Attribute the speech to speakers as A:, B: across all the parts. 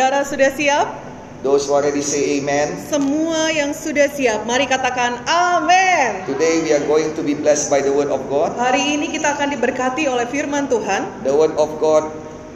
A: Saudara sudah siap?
B: Those who already say amen.
A: Semua yang sudah siap, mari katakan amin.
B: Today we are going to be blessed by the word of God.
A: Hari ini kita akan diberkati oleh firman Tuhan.
B: The word of God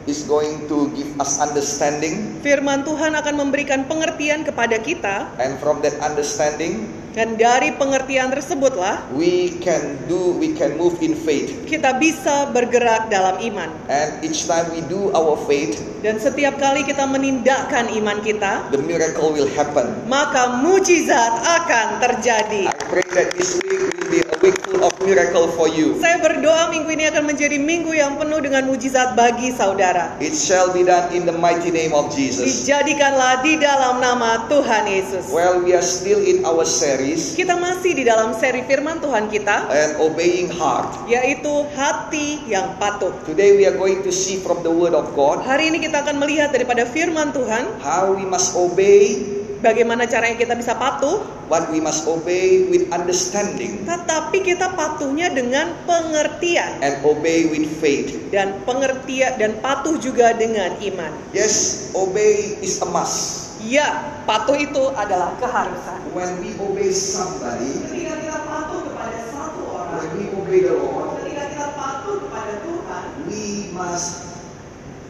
B: is going to give us understanding
A: Firman Tuhan akan memberikan pengertian kepada kita
B: and from that understanding
A: dan dari pengertian tersebutlah
B: we can do we can move in faith.
A: kita bisa bergerak dalam iman.
B: And each time we do our faith,
A: Dan setiap kali kita menindakkan iman kita,
B: the miracle will happen.
A: maka mujizat akan terjadi.
B: I pray that this week will be a week full of miracle for you.
A: Saya berdoa minggu ini akan menjadi minggu yang penuh dengan mujizat bagi saudara.
B: It shall be done in the mighty name of Jesus.
A: Dijadikanlah di dalam nama Tuhan Yesus.
B: Well, we are still in our series
A: Kita masih di dalam seri firman Tuhan kita,
B: and obeying heart.
A: yaitu hati yang patuh.
B: Today we are going to see from the word of God
A: Hari ini kita akan melihat daripada firman Tuhan,
B: how we must obey,
A: bagaimana caranya kita bisa patuh,
B: but we must obey with understanding
A: tetapi kita patuhnya dengan pengertian.
B: and obey with faith.
A: Dan pengertian dan patuh juga dengan iman.
B: Yes, obey is a must.
A: Ya, patuh itu adalah keharusan.
B: When we obey somebody,
A: Ketika kita patuh kepada satu orang,
B: when we obey the Lord,
A: ketika kita patuh kepada Tuhan,
B: we must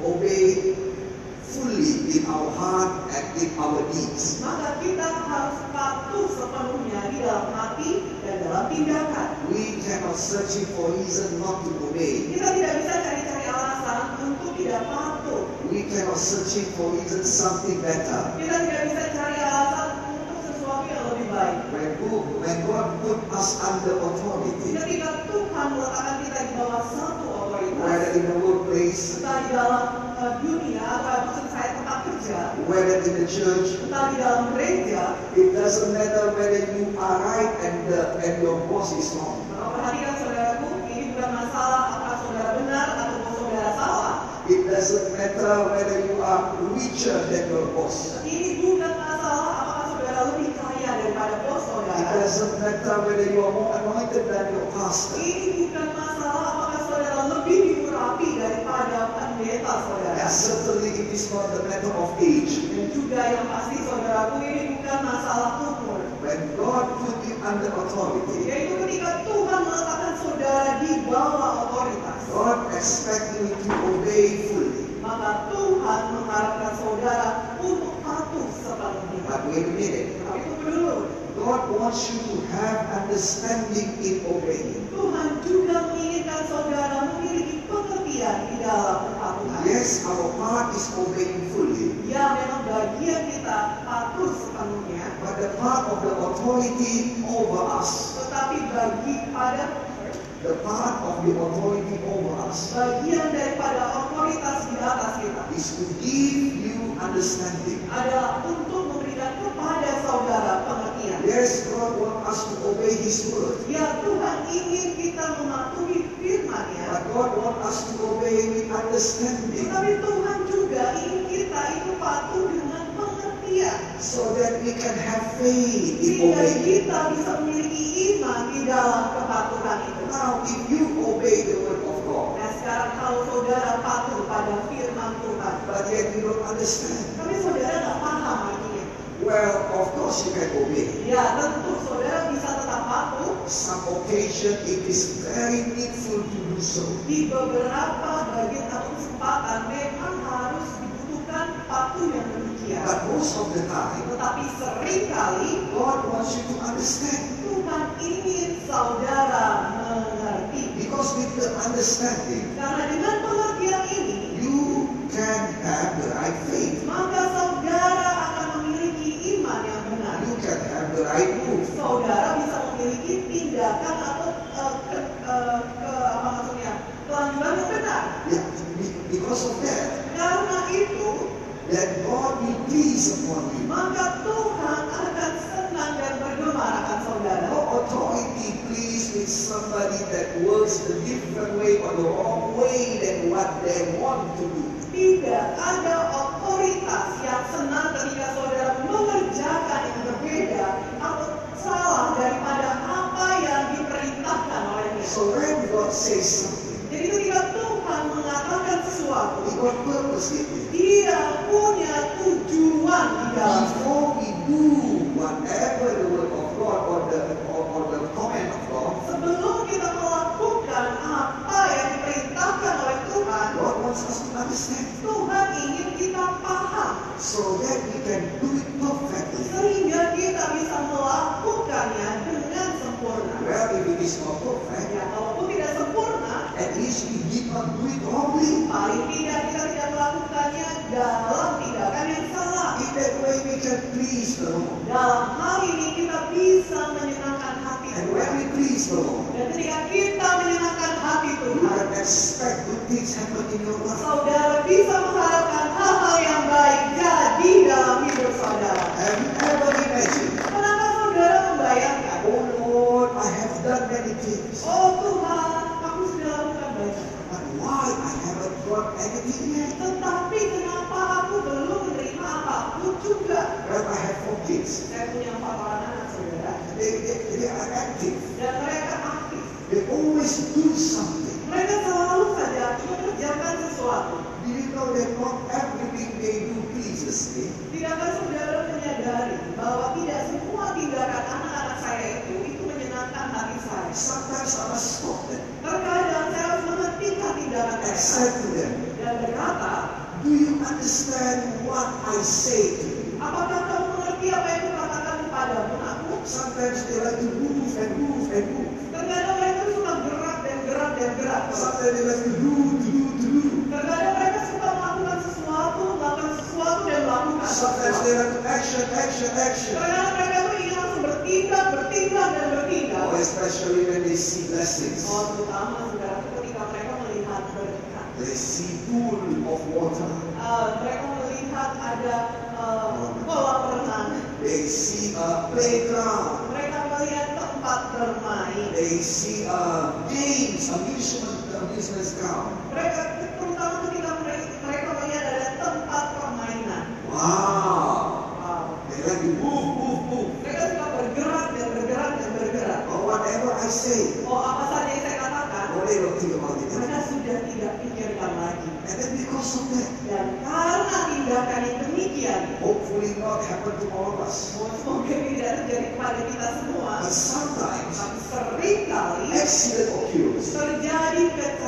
B: obey fully in our heart and in our deeds.
A: maka kita harus patuh sepenuhnya di dalam hati dan dalam tindakan.
B: We cannot search him for reason not to obey.
A: Kita tidak bisa cari-cari alasan untuk tidak patuh.
B: We cannot search him for reason something better.
A: Kita tidak bisa cari alasan untuk sesuatu yang lebih baik.
B: When, who- when God put us under authority,
A: Ketika Tuhan meletakkan kita di bawah satu
B: whether
A: otoritas,
B: in the workplace,
A: entah di dalam eh, dunia, atau maksud saya tempat kerja,
B: whether in the church,
A: entah di dalam gereja,
B: it doesn't matter whether you are right and, the, and your boss is wrong.
A: maka perhatikan saudaraku, ini bukan masalah apakah saudara benar atau saudara salah.
B: It doesn't matter whether you are richer than your boss.
A: Ini bukan masalah apakah saudara lebih kaya daripada bos
B: It
A: saudara.
B: doesn't matter whether you are more anointed than your pastor.
A: Ini bukan masalah apakah saudara lebih diurapi daripada pendeta saudara.
B: And Uh, certainly it is not the matter of age.
A: Dan juga yang pasti saudaraku ini bukan masalah umur.
B: When God put you under authority,
A: Yaitu ketika Tuhan meletakkan saudara di bawah otoritas.
B: God expects you to obey fully.
A: Maka Tuhan mengharapkan saudara untuk patuh sepenuhnya.
B: But wait a minute.
A: Tapi tunggu dulu.
B: God wants you to have understanding in obeying.
A: Tuhan juga menginginkan saudara memiliki pengertian di dalam kepatuhan.
B: Yes, our part is obeying fully,
A: Ya memang bagian kita patuh sepenuhnya,
B: but the part of the authority over us,
A: tetapi bagi pada
B: the part of the authority over us,
A: bagian daripada otoritas di atas kita
B: is to give you understanding.
A: adalah untuk memberikan kepada saudara pengertian.
B: Yes, God wants us to obey His word,
A: Ya Tuhan ingin kita mematuhi firman-Nya,
B: but God wants us to obey with understanding
A: tetapi Tuhan juga ingin kita itu patuh dengan pengertian.
B: so that we can have faith in
A: Sehingga
B: obeying.
A: kita bisa memiliki iman di dalam kepatuhan itu.
B: Now, if you obey the word of God,
A: Nah sekarang kalau saudara patuh pada firman Tuhan,
B: but yet you don't understand,
A: Tapi saudara nggak paham artinya.
B: well, of course you can obey.
A: Ya tentu saudara bisa tetap patuh
B: some occasion it is very needful to do so.
A: di beberapa bagian atau kesempatan memang harus dibutuhkan patuh yang demikian.
B: But most of the time,
A: Tetapi seringkali
B: God wants you to understand.
A: Tuhan ingin saudara mengerti.
B: Because with the understanding,
A: Karena dengan pengertian ini,
B: you can have the right faith.
A: maka saudara akan memiliki iman yang benar.
B: You can have the right move.
A: saudara bisa memiliki tindakan atau eh, ke, eh, ke, apa maksudnya kelanjutan yang benar.
B: Yeah, be- because of that,
A: Karena itu
B: that God will please upon you.
A: maka Tuhan akan senang dan bergemar akan saudara.
B: No authority pleased with somebody that works the different way or the wrong way than what they want to do.
A: Tidak ada otoritas yang senang ketika saudara mengerjakan yang berbeda atau salah daripada apa yang diperintahkan olehnya.
B: So when God says something,
A: Jadi ketika Tuhan mengatakan sesuatu,
B: He got purpose in it.
A: Dia punya tujuan
B: before we do whatever the word of God or the or, or the command of God,
A: Sebelum kita melakukan apa yang diperintahkan oleh Tuhan,
B: God wants us to understand
A: Tuhan ingin kita paham
B: so that we can do it perfectly.
A: sehingga kita bisa melakukannya dengan sempurna.
B: Well, if it is not perfect,
A: Ya, kalaupun tidak sempurna,
B: at least we did not do it wrongly.
A: paling tidak kita tidak melakukannya dalam tindakan yang salah.
B: In that way, we can please the Lord.
A: Dalam hal ini kita bisa menyenangkan hati
B: And
A: Tuhan.
B: when we please the Lord,
A: Dan ketika kita menyenangkan hati
B: you
A: Tuhan,
B: can expect good things happen in your life.
A: saudara bisa mengharapkan hal-hal yang baik jadi dalam hidup saudara.
B: Have you ever imagined,
A: Pernahkah saudara membayangkan,
B: oh Lord, I have done many things,
A: oh Tuhan, aku sudah lakukan banyak,
B: but why I haven't got anything yet?
A: tetapi kenapa aku belum menerima apapun juga?
B: Well, I have four kids.
A: Saya punya empat orang anak saudara,
B: They, they, they are active.
A: dan mereka aktif.
B: They always do something.
A: Mereka selalu saja mengerjakan sesuatu.
B: Do you know that not everything they do pleases me?
A: Tidakkah saudara menyadari bahwa tidak semua tindakan anak-anak saya itu itu menyenangkan hati saya?
B: Sometimes I must stop them
A: Terkadang saya harus menghentikan tindakan
B: and
A: saya
B: say to them,
A: dan berkata,
B: Do you understand what I say to you?
A: apakah kamu mengerti apa yang kukatakan kepadamu aku?
B: Sometimes they like to move and move and move.
A: Terkadang mereka suka gerak dan gerak dan gerak.
B: Sometimes they like to do, to do, to do.
A: Terkadang mereka suka melakukan sesuatu, melakukan sesuatu dan melakukan
B: Sometimes
A: sesuatu.
B: they like to action, action, action.
A: Terkadang mereka tuh ingin langsung bertindak, bertindak dan bertindak.
B: Oh, especially when they see blessings.
A: Oh, terutama saudara ketika mereka melihat berkat.
B: They see pool of water.
A: Eh, mereka melihat ada eh, kolam renang,
B: They see a playground.
A: mereka melihat tempat bermain,
B: They see uh, games, amusement, amusement ground.
A: mereka terutama ketika mereka, mereka melihat ada tempat permainan.
B: Wow!
A: Wow.
B: They like to move, move, move.
A: Mereka suka bergerak dan bergerak dan bergerak.
B: Or whatever I say,
A: Oh apa saja yang saya katakan,
B: or they don't think about it.
A: mereka sudah tidak pikirkan lagi.
B: And then because of that,
A: Dan karena tindakan yang demikian,
B: hopefully not happen to all of us.
A: oh, semoga tidak terjadi kepada kita semua.
B: But sometimes
A: Tapi seringkali
B: accident occurs.
A: terjadi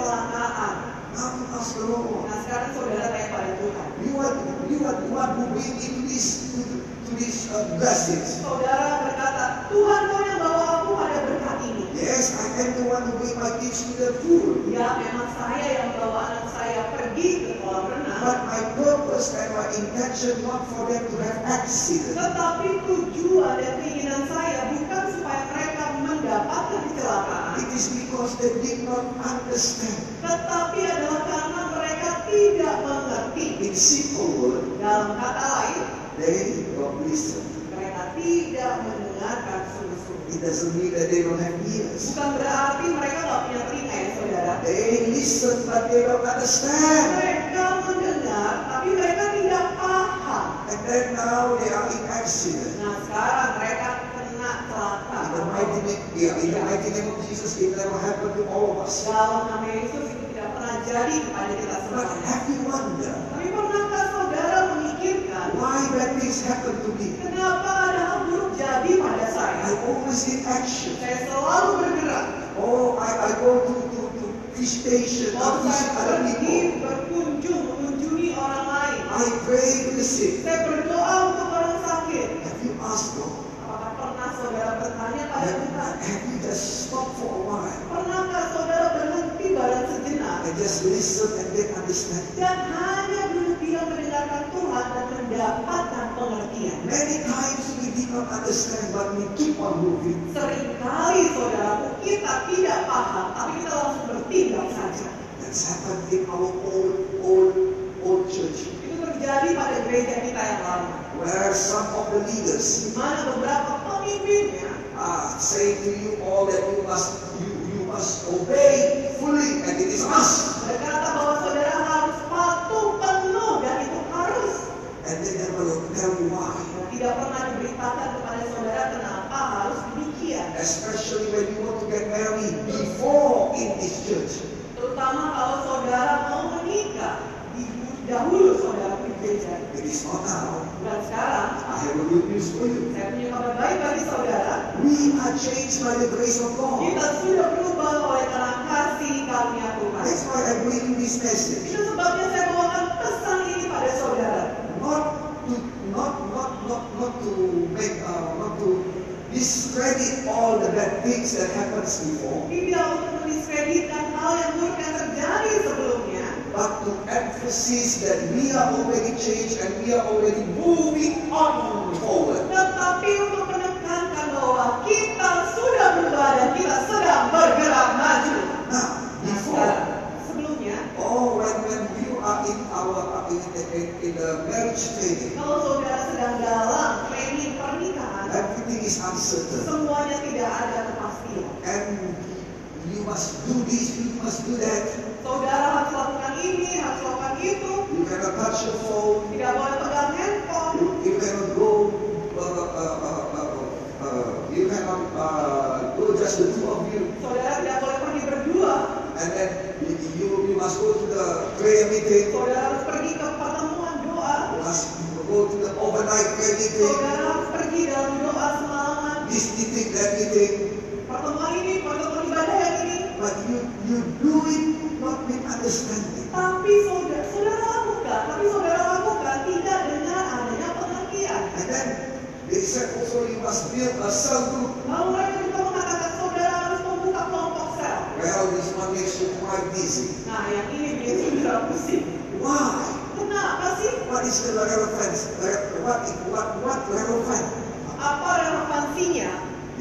A: kecelakaan.
B: Now we ask the Lord,
A: Nah sekarang saudara tanya pada Tuhan.
B: you are you are the one who bring into this to, to this uh, blessings.
A: Saudara berkata, Tuhan kau yang bawa aku pada berkat ini.
B: Yes, I am the one who bring my kids to the pool.
A: Ya memang saya yang bawa anak saya pergi ke kolam renang.
B: But my purpose and my intention not for them to have accident.
A: Tetapi tujuan dan keinginan saya bukan supaya mereka mendapatkan kecelakaan.
B: It is because they did not understand.
A: Tetapi adalah karena mereka tidak mengerti.
B: In simple word,
A: Dalam kata lain,
B: they don't listen.
A: mereka tidak mendengarkan sungguh-sungguh.
B: It doesn't mean that they don't have ears.
A: Bukan berarti mereka nggak punya telinga ya saudara.
B: They listen, but they don't understand.
A: Mereka mendengar, tapi mereka tidak paham.
B: And then now they are in accident.
A: Nah sekarang mereka kena celaka.
B: In the mighty name, yeah, in the mighty name of Jesus, it never happened to all of us.
A: Dalam nama Yesus itu tidak pernah jadi kepada kita semua.
B: But have you wondered
A: Tapi pernahkah saudara memikirkan
B: why bad things happen to me?
A: kenapa ada hal buruk jadi pada saya?
B: I always in action.
A: Saya selalu bergerak.
B: Oh, I, I go to to to fish station,
A: Mau
B: I visit
A: saya
B: other people.
A: pergi berkunjung mengunjungi orang lain.
B: I pray for the sick.
A: Saya berdoa untuk orang sakit.
B: Have you asked God?
A: Apakah pernah saudara bertanya pada Tuhan?
B: Have have you just stopped for a while
A: Pernahkah saudara berhenti barang sejenak
B: and just listen and then understand?
A: dan hanya duduk diam mendengarkan Tuhan dan mendapatkan pengertian?
B: Many times we did not understand, but we keep on moving.
A: Seringkali saudaraku kita tidak paham, tapi kita langsung bertindak saja.
B: That's happened in our old, old, old church,
A: Itu terjadi pada gereja kita yang lama,
B: where some of the leaders
A: di mana beberapa pemimpinnya
B: are saying to you all that you must, you, you must obey fully, and it is us.
A: berkata bahwa saudara harus patuh penuh dan itu harus.
B: And they never tell you why.
A: Tidak pernah diberitakan kepada saudara kenapa harus demikian.
B: Especially when you want to get married before in this church.
A: Terutama kalau saudara mau menikah, di- dahulu saudara pergi gereja.
B: It is not now.
A: Dan sekarang,
B: I have a good news for you.
A: saya punya kabar baik bagi saudara.
B: We are changed by the grace of God.
A: Kita sudah berubah oleh karena kasih karunia Tuhan.
B: That's why I bring this message.
A: Itu sebabnya saya bawakan pesan ini pada saudara.
B: Not to not not not not to make uh, not to discredit all the bad things that happens before,
A: Tidak untuk mendiskreditkan hal yang buruk yang terjadi sebelumnya,
B: but to emphasize that we are already changed and we are already moving on forward.
A: tetapi untuk menekankan bahwa kita sudah berubah dan kita sedang bergerak maju.
B: Now,
A: Nah, sekarang,
B: before
A: sebelumnya,
B: Oh, when, when you are in our uh, in, in, in the marriage training,
A: kalau saudara sedang dalam training pernikahan,
B: everything is uncertain,
A: semuanya tidak ada kepastian.
B: and you must do this, you must do that.
A: Saudara harus lakukan ini, harus lakukan itu,
B: You cannot touch your phone.
A: tidak boleh pegang handphone,
B: You, you cannot go. Uh, uh, uh, uh, uh, you cannot uh, go just the two of you,
A: saudara tidak boleh pergi berdua,
B: and then you, you, you must go to the prayer meeting.
A: saudara harus pergi ke pertemuan doa,
B: You must go to the overnight prayer meeting.
A: saudara harus pergi dalam doa semalaman,
B: This meeting, that meeting.
A: pertemuan ini, pertemuan ibadah yang ini,
B: But you, you do it not with understanding.
A: tapi saudara, saudara lakukan, tapi saudara lakukan tidak dengan adanya pengertian.
B: And then they said also you must build a cell group.
A: Lalu mereka juga mengatakan saudara harus membuka kelompok sel.
B: Well, this one makes you quite busy.
A: Nah, yang ini bikin saudara pusing.
B: Why?
A: Kenapa sih?
B: What is the relevance? Re- What, what, what relevant
A: Apa relevansinya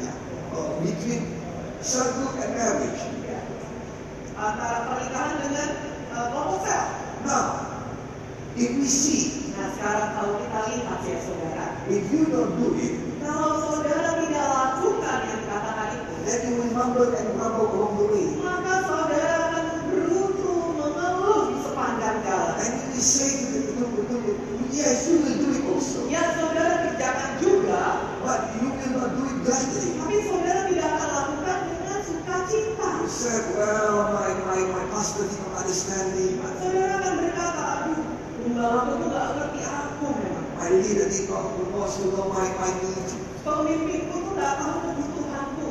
B: yeah. uh, between cell group and marriage?
A: antara pernikahan dengan eh, kelompok sel?
B: Now, if we see,
A: Nah, sekarang kalau kita lihat ya saudara,
B: if you don't do it,
A: kalau saudara tidak lakukan yang dikatakan itu,
B: then you will mumble and grumble along the way.
A: maka saudara akan beruntung mengeluh di sepanjang jalan.
B: And you will say to the group, group, group, yes, you will do it also.
A: Ya, saudara kerjakan juga,
B: But you will not do it gladly.
A: tapi saudara tidak akan lakukan dengan sukacita.
B: I said, well, my, my, my pastor didn't understand me, uh, my,
A: Saudara akan berkata, aduh, gembala aku tuh nggak ngerti aku memang.
B: my leader did not also know my, my need
A: Pemimpinku tuh nggak tahu kebutuhanku.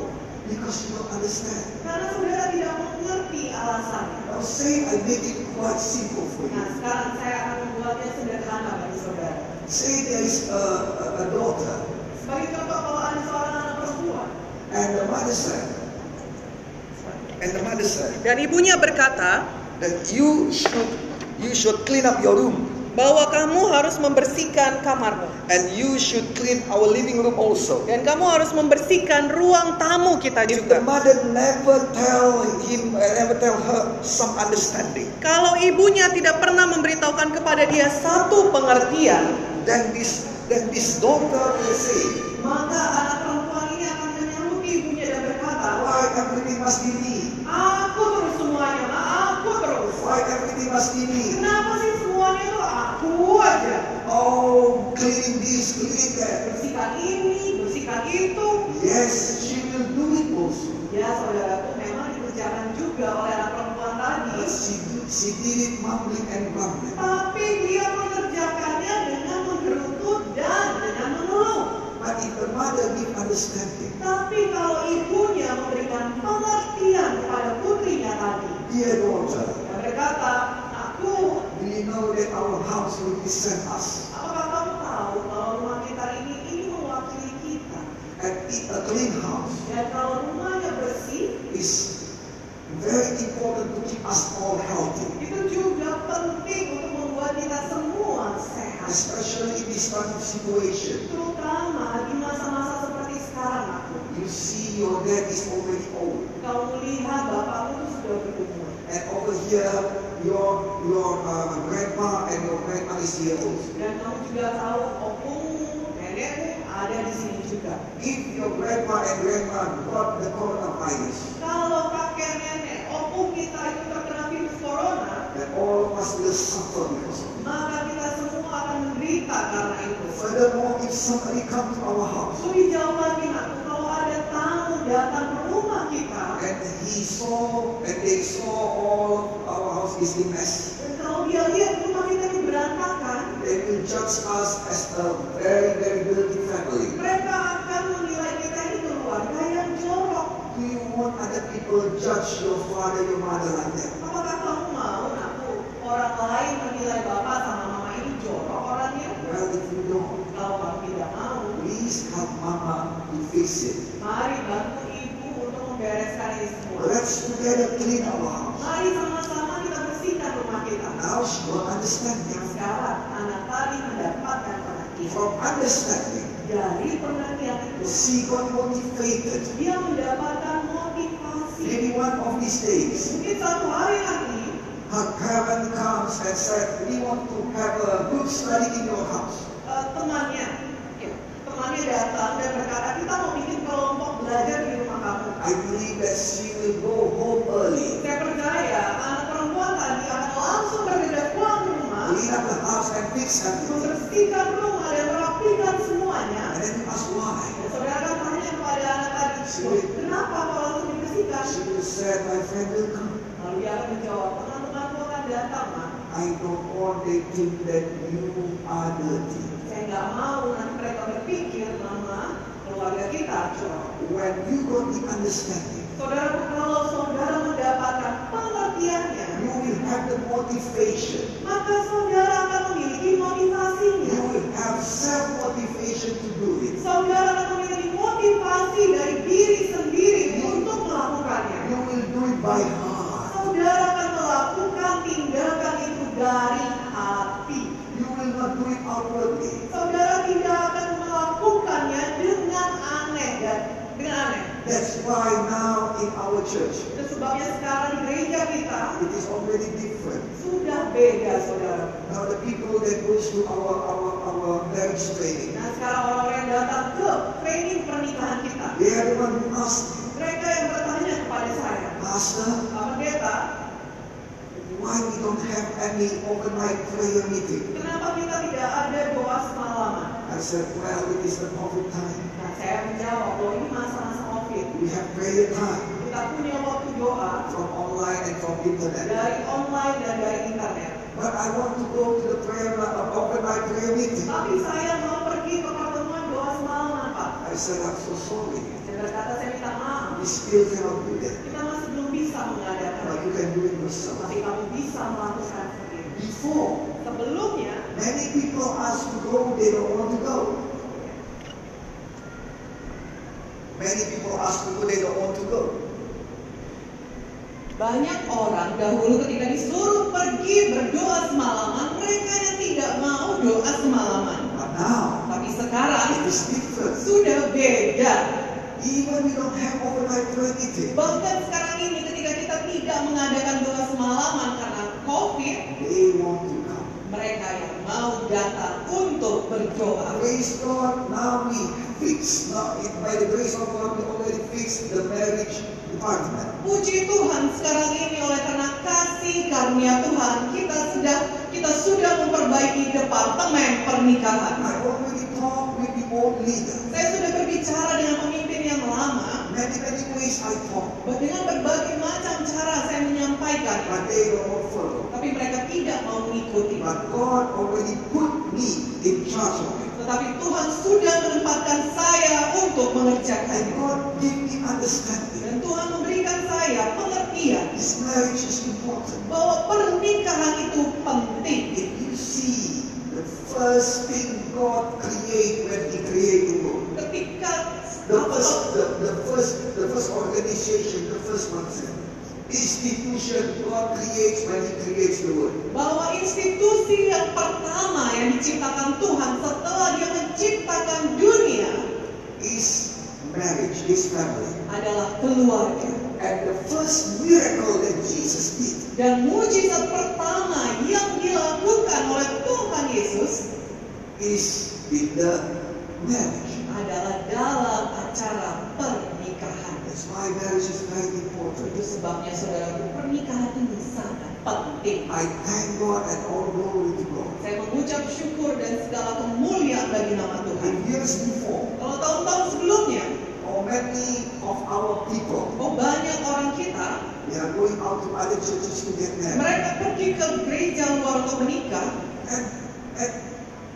B: because you don't understand.
A: Karena saudara tidak mengerti alasannya.
B: Now say I make it quite simple for
A: Nah,
B: you.
A: sekarang saya akan membuatnya sederhana bagi saudara.
B: Say there is a, a, a daughter
A: Sebagai contoh kalau ada seorang anak perempuan
B: and the mother said, and the mother said
C: Dan ibunya berkata
B: that you should you should clean up your room
C: bahwa kamu harus membersihkan kamarmu
B: and you should clean our living room also.
C: dan kamu harus membersihkan ruang tamu kita
B: The
C: juga.
B: mother never tell him, uh, never tell her some understanding.
C: Kalau ibunya tidak pernah memberitahukan kepada dia satu pengertian,
B: Then this then this daughter will say.
A: maka anak perempuan ini akan menyambut ibunya dan berkata,
B: Why everything must be me?
A: aku terus semuanya, Ma, aku terus.
B: Why everything must be me?
A: Kenapa sih semuanya itu aku aja?
B: Oh, cleaning this, cleaning that.
A: Bersihkan ini, bersihkan itu.
B: Yes, she will do it also.
A: Ya saudaraku memang dikerjakan juga oleh anak perempuan tadi.
B: But she, do- she did it mumbling and grumbling.
A: Tapi dia mengerjakannya dengan menggerutut dan dengan mengeluh.
B: But if the mother give understanding,
A: Tapi kalau ibunya memberikan pengertian kepada putrinya tadi,
B: dear daughter,
A: dia berkata, aku,
B: do you know that our house will resent us?
A: apakah kamu tahu kalau rumah kita ini ini mewakili kita?
B: And it, a clean house
A: Dan kalau rumahnya bersih,
B: is very important to keep us all healthy.
A: itu juga penting untuk membuat kita semua sehat.
B: Especially in this kind of situation,
A: Terutama di masa-masa seperti sekarang aku.
B: you see your dad is already old.
A: Kamu lihat bapakmu itu sudah berumur.
B: And over here, your your uh, grandpa and your grandma is here also.
A: Dan kamu juga tahu opungmu, nenekmu ada di sini juga.
B: If your grandpa and grandma got the coronavirus,
A: Kalau kakek nenek opung kita itu terkena virus corona,
B: then all of us will suffer because of it.
A: maka kita semua akan menderita karena itu.
B: Furthermore, if somebody comes to our house
A: Lebih jauh lagi, nak, kalau ada tamu datang ke rumah kita,
B: and he saw and they saw all our house is a mess,
A: dan kalau dia lihat rumah kita ini berantakan,
B: they they will judge us as a very, very guilty family.
A: Mereka akan menilai kita ini keluarga yang jorok.
B: Do you want other people to judge your father, your mother like that?
A: Apakah kamu mau aku orang lain menilai bapak sama mama ini jorok orangnya?
B: Well, if you don't,
A: Kalau kamu tidak mau,
B: please help mama to fix it.
A: mari bantu ibu untuk membereskan ini semua.
B: Let's together clean our house.
A: Mari sama-sama kita bersihkan rumah kita.
B: Now she will understand
A: Yang
B: me.
A: sekarang anak tadi mendapatkan pengertian.
B: From understanding,
A: Dari pengertian itu,
B: she got motivated.
A: dia mendapatkan motivasi.
B: Maybe one of these days,
A: Mungkin satu hari nanti,
B: her parent comes and said, we want to have a good study in your house.
A: eh, temannya, ya, temannya datang dan berkata, kita mau bikin kelompok belajar di rumah kamu.
B: I believe that she will go home early,
A: Saya percaya anak perempuan tadi akan langsung bergegas pulang ke rumah,
B: clean up the house and fix everything.
A: membersihkan rumah dan merapikan semuanya.
B: And then you ask why.
A: Dan saudara akan tanya kepada anak tadi, "Loh, kenapa kau langsung dibersihkan?
B: She will say, my friend will come.
A: Lalu dia akan menjawab, teman-temanku akan datang, Mak.
B: I don't want they think that you are dirty.
A: Saya nggak mau nanti mereka berpikir, Mama, keluarga kita jorok.
B: When you got the understanding,
A: Saudara, kalau saudara mendapatkan pengertiannya,
B: you will have the motivation.
A: maka saudara akan memiliki motivasinya.
B: You will have self-motivation to do it.
A: Saudara akan memiliki motivasi dari diri sendiri
B: You
A: untuk melakukannya.
B: will do it by heart.
A: Saudara akan melakukan tindakan itu dari hati.
B: You will not do it outwardly.
A: Saudara tidak akan melakukannya dengan aneh dan dengan aneh.
B: That's why now in our church,
A: Itu sebabnya sekarang di gereja kita
B: it is already different.
A: sudah beda, saudara.
B: Now the people that goes to our our our marriage training,
A: Nah, sekarang orang-orang yang datang ke training pernikahan kita,
B: they are the one who ask,
A: mereka yang bertanya kepada saya,
B: Pastor,
A: Pak Pendeta,
B: why we don't have any overnight prayer meeting?
A: kenapa kita tidak ada doa semalaman?
B: I said, well, it is the COVID time.
A: Nah, saya menjawab bahwa ini masa-masa COVID.
B: We have prayer time
A: Kita punya waktu doa
B: from online and from internet.
A: dari online dan dari internet.
B: But I want to go to the prayer uh, overnight prayer meeting.
A: Tapi saya mau pergi ke pertemuan doa semalaman, Pak.
B: I said, I'm so sorry.
A: Saya berkata, saya minta maaf.
B: We still cannot do that.
A: Kita masih belum bisa mengadakan.
B: But you can do it yourself.
A: Tapi kamu bisa melakukan sendiri.
B: Before,
A: Sebelumnya,
B: many people ask to go, they don't want to go. Many people ask to go, they don't want to go.
A: banyak orang dahulu ketika disuruh pergi berdoa semalaman, mereka yang tidak mau doa semalaman.
B: But now,
A: Tapi sekarang
B: it is different.
A: sudah beda.
B: Even we don't have overnight prayer meeting,
A: Bahkan sekarang ini ketika kita tidak mengadakan doa semalaman karena COVID,
B: they want to come.
A: mereka yang mau datang untuk berdoa.
B: Praise God, now we fix, now it, by the grace of God, we already fixed the marriage department.
A: Puji Tuhan sekarang ini oleh karena kasih karunia Tuhan kita sudah kita sudah memperbaiki departemen pernikahan.
B: I already talked with the old leader.
A: Saya sudah berbicara dengan pemimpin yang lama
B: Many, many ways I talked,
A: dengan berbagai macam cara saya menyampaikan,
B: but they don't follow.
A: tapi mereka tidak mau mengikuti.
B: But God already put me in charge of it.
A: Tetapi Tuhan sudah menempatkan saya
B: And
A: untuk mengerjakannya.
B: God gave me understanding.
A: Dan Tuhan memberikan saya pengertian
B: This marriage is important.
A: bahwa pernikahan itu penting.
B: If you see the first thing God created when He created the world,
A: Ketika
B: the first, the, the first, the first organization, the first concept, institution God creates when He creates the world.
A: bahwa institusi yang pertama yang diciptakan Tuhan setelah dia menciptakan dunia
B: Is marriage, is family.
A: adalah keluarga.
B: And the first miracle that Jesus did
A: Dan mujizat pertama yang dilakukan oleh Tuhan Yesus
B: is in the marriage.
A: adalah dalam acara pernikahan.
B: That's why marriage is very
A: Itu
B: important.
A: sebabnya saudara pernikahan ini sangat penting.
B: I thank God and all glory to God.
A: Saya mengucap syukur dan segala kemuliaan bagi nama Tuhan.
B: And years before,
A: Kalau tahun-tahun sebelumnya,
B: or many of our people,
A: oh banyak orang kita,
B: they are going out to other churches to get married.
A: mereka pergi ke gereja luar untuk menikah,
B: And, and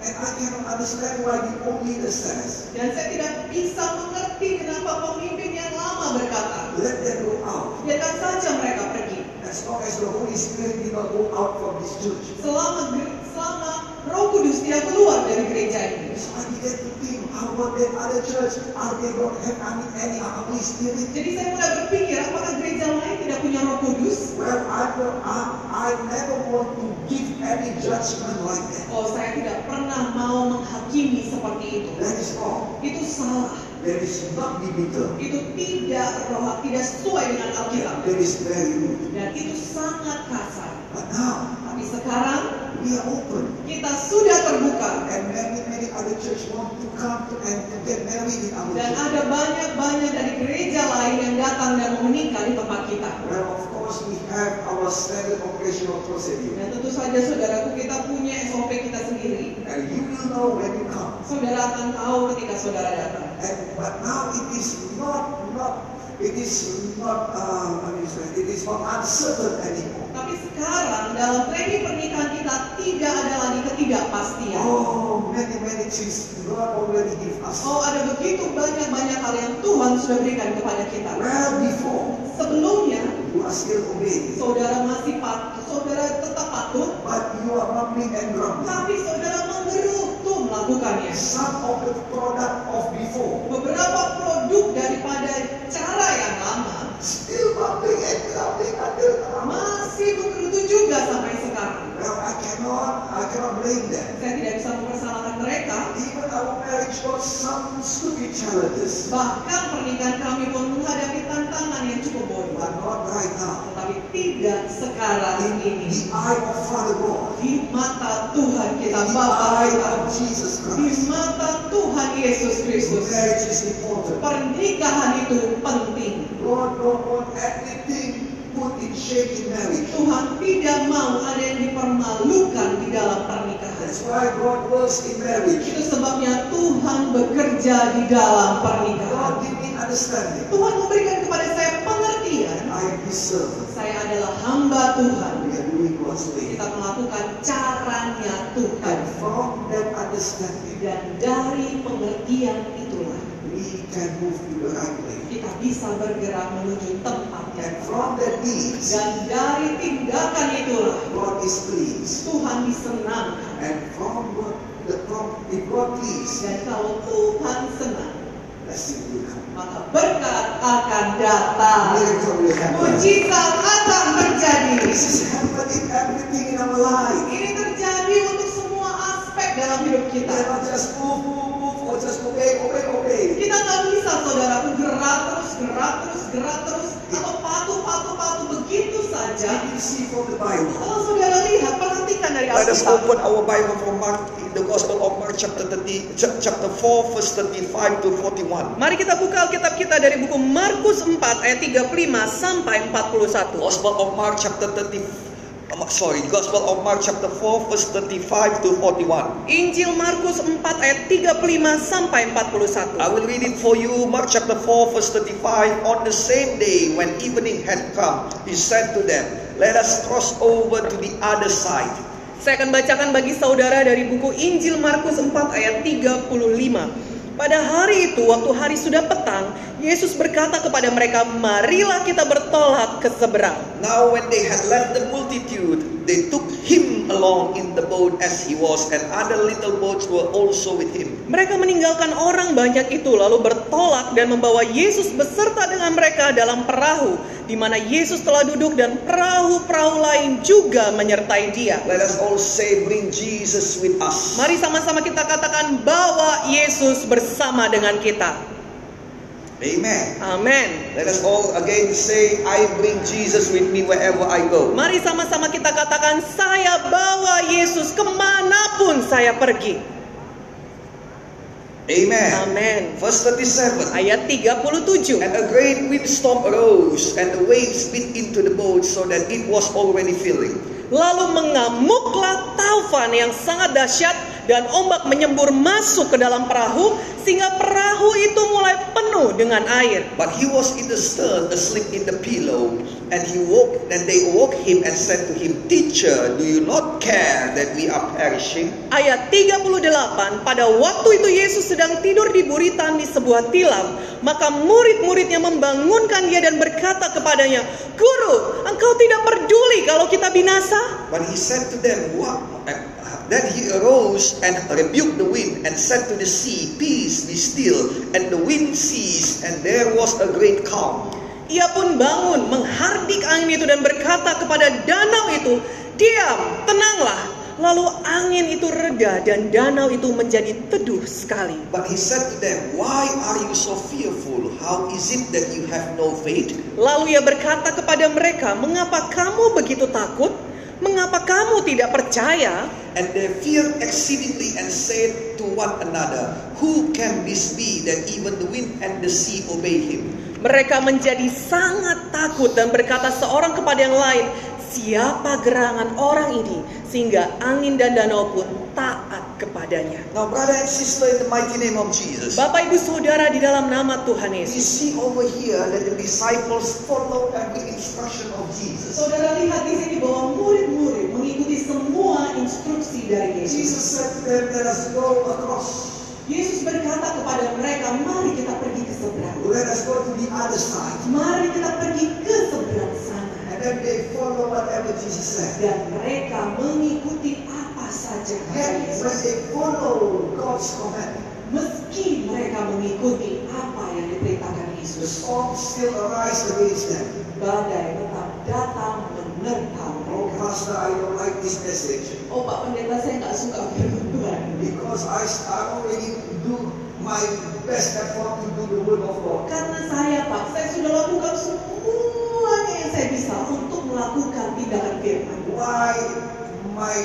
B: And I cannot understand why the old leader says,
A: Dan saya tidak bisa mengerti kenapa pemimpin yang lama berkata,
B: let them go out.
A: biarkan saja mereka pergi.
B: As long as the Holy Spirit did not go out from this church.
A: Selama selama Roh Kudus tidak keluar dari gereja ini.
B: So I began to think, how about that other church? Are they not having any Holy Spirit?
A: Jadi saya mulai berpikir apakah gereja lain tidak punya Roh Kudus?
B: Well, I, don't, I, I never want to give any judgment like that.
A: Oh, saya tidak pernah mau menghakimi seperti itu.
B: That is all.
A: Itu salah.
B: That is not biblical.
A: Itu tidak roh, tidak sesuai dengan Alkitab.
B: That is very rude.
A: Dan itu sangat kasar.
B: But now,
A: Tapi sekarang
B: we are open.
A: kita sudah terbuka
B: And many, many other churches want to come to, and to get married in our
A: dan
B: church.
A: ada banyak-banyak dari gereja lain yang datang dan mau menikah di tempat kita.
B: Well, of course, we have our standard operational procedure.
A: Dan tentu saja saudaraku kita punya SOP kita sendiri.
B: And you will know when you come.
A: Saudara akan tahu ketika saudara datang.
B: And but now it is not not it is not uh, how do you say, it is not uncertain anymore.
A: Tapi sekarang dalam training pernikahan kita tidak ada lagi ketidakpastian.
B: Oh, many many things God already give us.
A: Oh ada begitu banyak-banyak hal yang Tuhan sudah berikan kepada kita.
B: Well before
A: Sebelumnya
B: you are still obeying,
A: saudara masih patuh, saudara tetap patuh,
B: but you are mumbling and grumbling.
A: tapi saudara menggerutu melakukannya.
B: Some of the product of before
A: Beberapa produk daripada cara yang lama
B: still mumbling and grumbling until now.
A: masih menggerutu juga sampai sekarang.
B: Well, I cannot I cannot blame them.
A: Saya tidak bisa mempersalahkan mereka.
B: Even our marriage got some stupid challenges,
A: Bahkan pernikahan kami pun menghadapi tantangan yang cukup
B: but
A: bodoh.
B: not right now.
A: Tetapi tidak sekarang
B: In
A: ini.
B: the eye of Father God.
A: Di mata Tuhan kita
B: The
A: Bapa
B: eye
A: kita.
B: of Jesus
A: Di
B: Christ.
A: mata Tuhan Yesus Kristus.
B: Marriage is important.
A: Pernikahan itu penting.
B: God don't want anything put in shake in marriage.
A: Tuhan tidak mau ada yang dipermalukan di dalam pernikahan.
B: That's why God works in marriage.
A: Itu sebabnya Tuhan bekerja di dalam pernikahan.
B: God give me understanding.
A: Tuhan memberikan kepada saya pengertian.
B: I am His servant.
A: Saya adalah hamba Tuhan.
B: We are doing God's will.
A: Kita melakukan caranya Tuhan.
B: And from that understanding,
A: Dan dari pengertian itulah
B: we can move to the right way.
A: kita bisa bergerak menuju tempat yang
B: And from that needs,
A: dan dari tindakan itulah
B: God is pleased.
A: Tuhan disenangkan.
B: And from God, the from if God pleased,
A: Dan kalau Tuhan senang,
B: blessing will come.
A: maka berkat akan datang.
B: Miracle will
A: Oh,
B: happen.
A: Mujizat akan terjadi.
B: This is happening everything in our life.
A: Ini terjadi untuk semua aspek dalam hidup
B: You
A: kita.
B: cannot just move, move, move, or just obey, obey, obey.
A: Kita nggak bisa saudaraku gerak terus, gerak terus, gerak terus, atau patuh, patuh, patuh begitu saja.
B: You see from the Bible.
A: Kalau saudara lihat, perhatikan dari
D: Let us
A: Alkitab.
D: open our Bible for Mark, the Gospel of Mark, chapter 30, chap- chapter 4, verse 35 to 41.
C: Mari kita buka Alkitab kita dari buku Markus 4 ayat 35 sampai 41.
B: Oh.
D: Gospel of Mark, chapter 30.
B: uh,
D: um, Sorry, Gospel of Mark, chapter 4, verse 35 to 41.
C: Injil Markus 4 ayat 35
D: I
C: sampai 41.
D: will read it for you, Mark chapter 4, verse 35. On the same day, when evening had come, he said to them, Let us cross over to the other side.
C: Saya akan bacakan bagi saudara dari buku Injil Markus 4 ayat 35. Pada hari itu, waktu hari sudah petang, Yesus berkata kepada mereka, "Marilah kita bertolak ke seberang."
D: Now, when they had left the multitude, they took him along in the boat as he was, and other little boats were also with him.
C: Mereka meninggalkan orang banyak itu lalu bertolak dan membawa Yesus beserta dengan mereka dalam perahu di mana Yesus telah duduk dan perahu-perahu lain juga menyertai dia.
D: Let us all say, Bring Jesus with us.
C: Mari sama-sama kita katakan bawa Yesus bersama dengan kita.
D: Amen.
C: Amin.
D: Let us all again say, I bring Jesus with me wherever I go.
C: Mari sama-sama kita katakan saya bawa Yesus kemanapun saya pergi.
D: Amen.
C: Amin.
D: Verse 37.
C: Ayat 37.
D: And a great windstorm arose, and the waves beat into the boat so that it was already filling.
C: Lalu mengamuklah taufan yang sangat dahsyat dan ombak menyembur masuk ke dalam perahu sehingga perahu itu mulai penuh dengan air.
D: But he was in the stern, asleep in the pillow, and he woke. Then they woke him and said to him, "Teacher, do you not care that we are perishing?"
C: Ayat 38, pada waktu itu Yesus sedang tidur di buritan di sebuah tilam, maka murid-muridnya membangunkan dia dan berkata kepadanya, Guru, engkau tidak peduli kalau kita binasa?
D: But he said to them, "What?" uh, Then he arose and rebuked the wind and said to the sea, "Peace, be still." And the wind ceased, and there was a great calm.
C: Ia pun bangun, menghardik angin itu dan berkata kepada danau itu, Diam, tenanglah. Lalu angin itu reda dan danau itu menjadi teduh sekali.
D: But he said to them, Why are you so fearful? How is it that you have no faith?
C: Lalu ia berkata kepada mereka, "Mengapa kamu begitu takut? Mengapa kamu tidak percaya?"
D: And they feared exceedingly and said to one another, Who can this be that even the wind and the sea obey him?
C: Mereka menjadi sangat takut dan berkata seorang kepada yang lain, "Siapa gerangan orang ini sehingga angin dan danau pun taat kepadanya?"
D: Now, brother and sister, in the mighty name of Jesus,
C: Bapak Ibu Saudara di dalam nama Tuhan
D: we
C: Yesus.
D: see over here that the disciples follow every instruction of Jesus.
A: Saudara lihat di sini bahwa murid-murid mengikuti semua instruksi dari Yesus.
B: Jesus said to them, Let us go across.
A: Yesus berkata kepada mereka, mari kita pergi ke seberang.
B: Let us go to the other side.
A: Mari kita pergi ke seberang sana.
B: And then they follow whatever Jesus said.
A: Dan mereka mengikuti apa saja kata
B: Yet, when
A: Yesus.
B: they follow God's command,
A: Meski mereka mengikuti apa yang
B: the
A: diperintahkan Yesus,
B: storm still arise against them.
A: badai tetap datang menerkam
B: Oh,
A: mereka.
B: Pastor, I don't like this message
A: Oh Pak Pendeta saya nggak suka berubah.
B: because I, I already do my best effort to do the word of God.
A: Karena saya Pak, saya sudah lakukan semuanya yang saya bisa untuk melakukan tindakan firman.
B: Why my